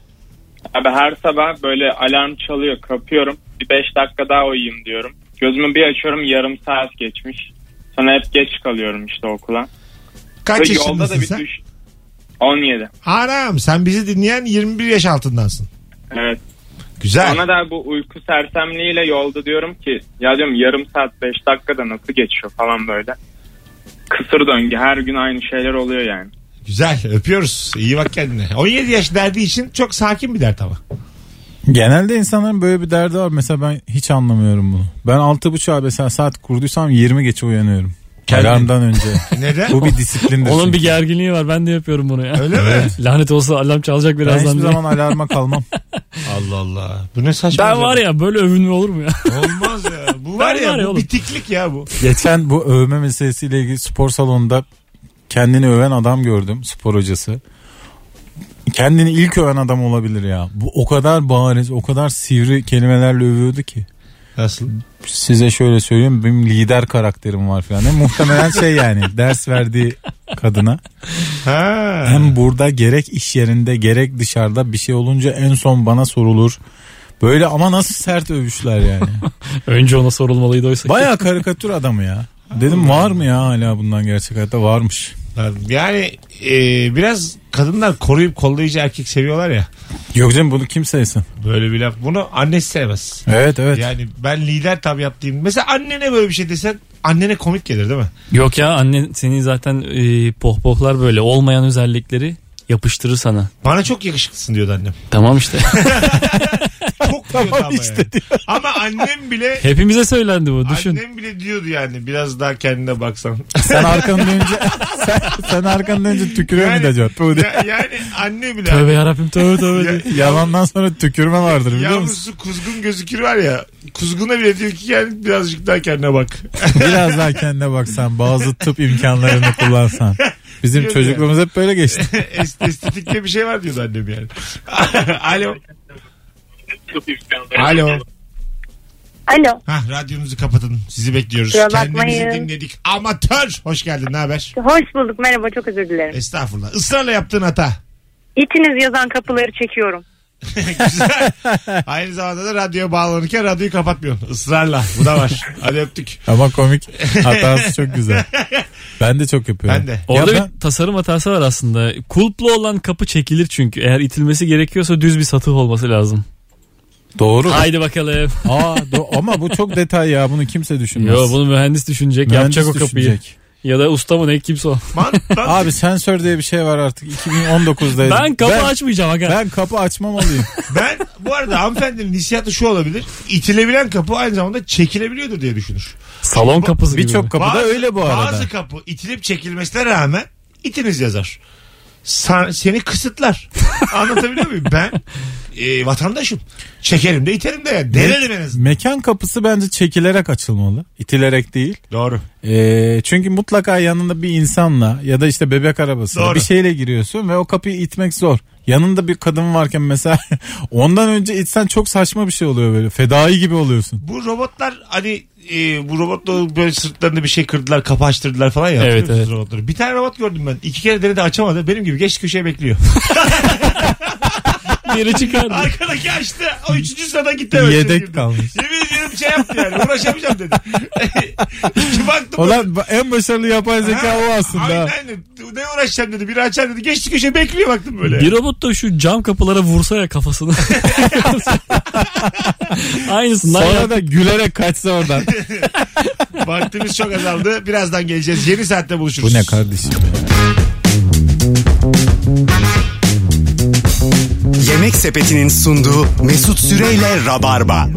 Speaker 6: Abi her sabah böyle alarm çalıyor kapıyorum. Bir 5 dakika daha uyuyayım diyorum. Gözümü bir açıyorum yarım saat geçmiş. Sonra hep geç kalıyorum işte okula.
Speaker 2: Kaç
Speaker 6: Ve yolda da
Speaker 2: yaşındasın
Speaker 6: bir
Speaker 2: sen?
Speaker 6: düş... 17.
Speaker 2: Anam sen bizi dinleyen 21 yaş altındansın.
Speaker 6: Evet.
Speaker 2: Güzel.
Speaker 6: Ona da bu uyku sersemliğiyle yolda diyorum ki ya diyorum yarım saat 5 dakikada nasıl geçiyor falan böyle. Kısır döngü her gün aynı şeyler oluyor yani.
Speaker 2: Güzel. Öpüyoruz. İyi bak kendine. 17 yaş derdi için çok sakin bir dert ama.
Speaker 4: Genelde insanların böyle bir derdi var. Mesela ben hiç anlamıyorum bunu. Ben 6.30'a mesela saat kurduysam 20 geçe uyanıyorum.
Speaker 2: Kendin-
Speaker 4: Alarmdan önce.
Speaker 2: Neden?
Speaker 4: Bu bir disiplindir.
Speaker 3: Onun
Speaker 4: çünkü.
Speaker 3: bir gerginliği var. Ben de yapıyorum bunu ya.
Speaker 2: Öyle mi?
Speaker 3: Lanet olsa alarm çalacak
Speaker 4: ben hiçbir
Speaker 3: birazdan. diye.
Speaker 4: zaman alarma kalmam.
Speaker 2: Allah Allah. Bu ne saçma. şey?
Speaker 3: Ben var ya böyle övünme olur mu ya?
Speaker 2: Olmaz ya. Bu var
Speaker 3: Ben
Speaker 2: ya,
Speaker 3: var ya
Speaker 2: bu
Speaker 3: oğlum.
Speaker 2: bitiklik ya bu.
Speaker 4: Geçen bu övme meselesiyle ilgili spor salonunda kendini öven adam gördüm. Spor hocası. Kendini ilk öven adam olabilir ya. Bu o kadar bariz, o kadar sivri kelimelerle övüyordu ki.
Speaker 2: Nasıl?
Speaker 4: size şöyle söyleyeyim benim lider karakterim var falan. diye. Muhtemelen şey yani ders verdiği kadına.
Speaker 2: Ha.
Speaker 4: Hem burada gerek iş yerinde gerek dışarıda bir şey olunca en son bana sorulur. Böyle ama nasıl sert övüşler yani.
Speaker 3: Önce ona sorulmalıydı oysa.
Speaker 4: Baya karikatür adamı ya. Dedim var mı ya hala bundan gerçek hayatta varmış.
Speaker 2: Yani e, biraz kadınlar koruyup kollayıcı erkek seviyorlar ya.
Speaker 4: Yok canım bunu kim sevsin?
Speaker 2: Böyle bir laf. Bunu annesi sevmez.
Speaker 4: Evet evet.
Speaker 2: Yani ben lider tabiatlıyım. Mesela annene böyle bir şey desen annene komik gelir değil mi?
Speaker 3: Yok ya annen seni zaten e, pohpohlar böyle olmayan özellikleri yapıştırır sana.
Speaker 2: Bana çok yakışıklısın diyordu annem.
Speaker 3: Tamam işte.
Speaker 2: Çok diyordu ama yani. Ama annem bile
Speaker 3: Hepimize söylendi bu düşün.
Speaker 2: annem bile diyordu yani biraz daha kendine baksan.
Speaker 4: Sen arkanı dönünce sen, sen arkanı dönünce tükürüyor
Speaker 2: Yani-
Speaker 4: mu acaba? Bu de-
Speaker 2: Ya- yani anne bile.
Speaker 3: Tövbe yarabbim tövbe tövbe.
Speaker 2: Ya-
Speaker 3: diye.
Speaker 4: Yalandan sonra tükürme vardır biliyor musun?
Speaker 2: Yavrusu kuzgun gözükür var ya. Kuzguna bile diyor ki yani birazcık daha kendine bak.
Speaker 4: Biraz daha kendine baksan bazı tıp imkanlarını kullansan. Bizim
Speaker 2: Yok
Speaker 4: çocukluğumuz hep böyle geçti.
Speaker 2: Est- estetikte bir şey var diyordu annem yani. Alo. Alo.
Speaker 5: Alo.
Speaker 2: Hah radyonuzu kapatın. Sizi bekliyoruz.
Speaker 5: Kusura
Speaker 2: Kendimizi
Speaker 5: bakmayın.
Speaker 2: dinledik. Amatör. Hoş geldin. Ne haber?
Speaker 5: Hoş bulduk. Merhaba. Çok özür dilerim.
Speaker 2: Estağfurullah. Israrla yaptığın hata.
Speaker 5: İçiniz yazan kapıları çekiyorum.
Speaker 2: Güzel. Aynı zamanda da radyoya bağlanırken radyoyu kapatmıyorsun. Israrla. Bu da var. Hadi öptük.
Speaker 4: Ama komik hatası çok güzel. Ben de çok yapıyorum.
Speaker 2: Ben de.
Speaker 3: Orada
Speaker 4: Ya ben-
Speaker 3: bir tasarım hatası var aslında. Kulplu olan kapı çekilir çünkü. Eğer itilmesi gerekiyorsa düz bir satıh olması lazım.
Speaker 4: Doğru.
Speaker 3: Haydi bakalım.
Speaker 4: Aa, do- ama bu çok detay ya bunu kimse düşünmez.
Speaker 3: Yo bunu mühendis düşünecek.
Speaker 4: Mühendis
Speaker 3: yapacak o kapıyı.
Speaker 4: düşünecek.
Speaker 3: Ya da usta mı ne kimse o.
Speaker 2: Man, man-
Speaker 4: Abi sensör diye bir şey var artık 2019'dayız.
Speaker 3: Ben kapı
Speaker 4: ben,
Speaker 3: açmayacağım. Aga.
Speaker 4: ben kapı açmamalıyım.
Speaker 2: ben bu arada hanımefendinin hissiyatı şu olabilir. İtilebilen kapı aynı zamanda çekilebiliyordur diye düşünür.
Speaker 3: Salon kapısı gibi.
Speaker 4: Birçok kapı da
Speaker 2: Bazı-
Speaker 4: öyle bu arada.
Speaker 2: Bazı kapı itilip çekilmesine rağmen itiniz yazar. Sa- seni kısıtlar. Anlatabiliyor muyum? Ben e, vatandaşım. Çekerim de iterim de. Yani. Denerim en azından.
Speaker 4: Mekan kapısı bence çekilerek açılmalı. İtilerek değil.
Speaker 2: Doğru.
Speaker 4: Ee, çünkü mutlaka yanında bir insanla ya da işte bebek arabasıyla
Speaker 2: Doğru.
Speaker 4: bir şeyle giriyorsun ve o kapıyı itmek zor. Yanında bir kadın varken mesela ondan önce itsen çok saçma bir şey oluyor böyle. Fedai gibi oluyorsun.
Speaker 2: Bu robotlar hani e, bu robotla böyle sırtlarında bir şey kırdılar, kapı açtırdılar falan ya.
Speaker 3: Evet,
Speaker 2: Hatırlıyor musunuz
Speaker 3: evet.
Speaker 2: Robotları? Bir tane robot gördüm ben. İki kere denedi açamadı. Benim gibi geç köşeye bekliyor.
Speaker 3: Biri çıkardı.
Speaker 2: Arkadaki açtı. O üçüncü sırada gitti. evet,
Speaker 4: Yedek
Speaker 2: şöyle girdi.
Speaker 4: kalmış.
Speaker 2: Yemin ediyorum şey yaptı yani. Uğraşamayacağım dedi. İki baktım.
Speaker 4: Olan en başarılı yapay zeka o aslında.
Speaker 2: Aynen aynen. Ne uğraşacağım dedi. Biri açar dedi. Geçti köşeye bekliyor baktım böyle.
Speaker 3: Bir robot da şu cam kapılara vursa ya kafasını. Aynısından
Speaker 4: Sonra
Speaker 3: yap.
Speaker 4: da gülerek kaçsa oradan.
Speaker 2: Vaktimiz çok azaldı. Birazdan geleceğiz. Yeni saatte buluşuruz.
Speaker 4: bu ne kardeşim?
Speaker 1: Yemek Sepeti'nin sunduğu Mesut Süreyle Rabarba.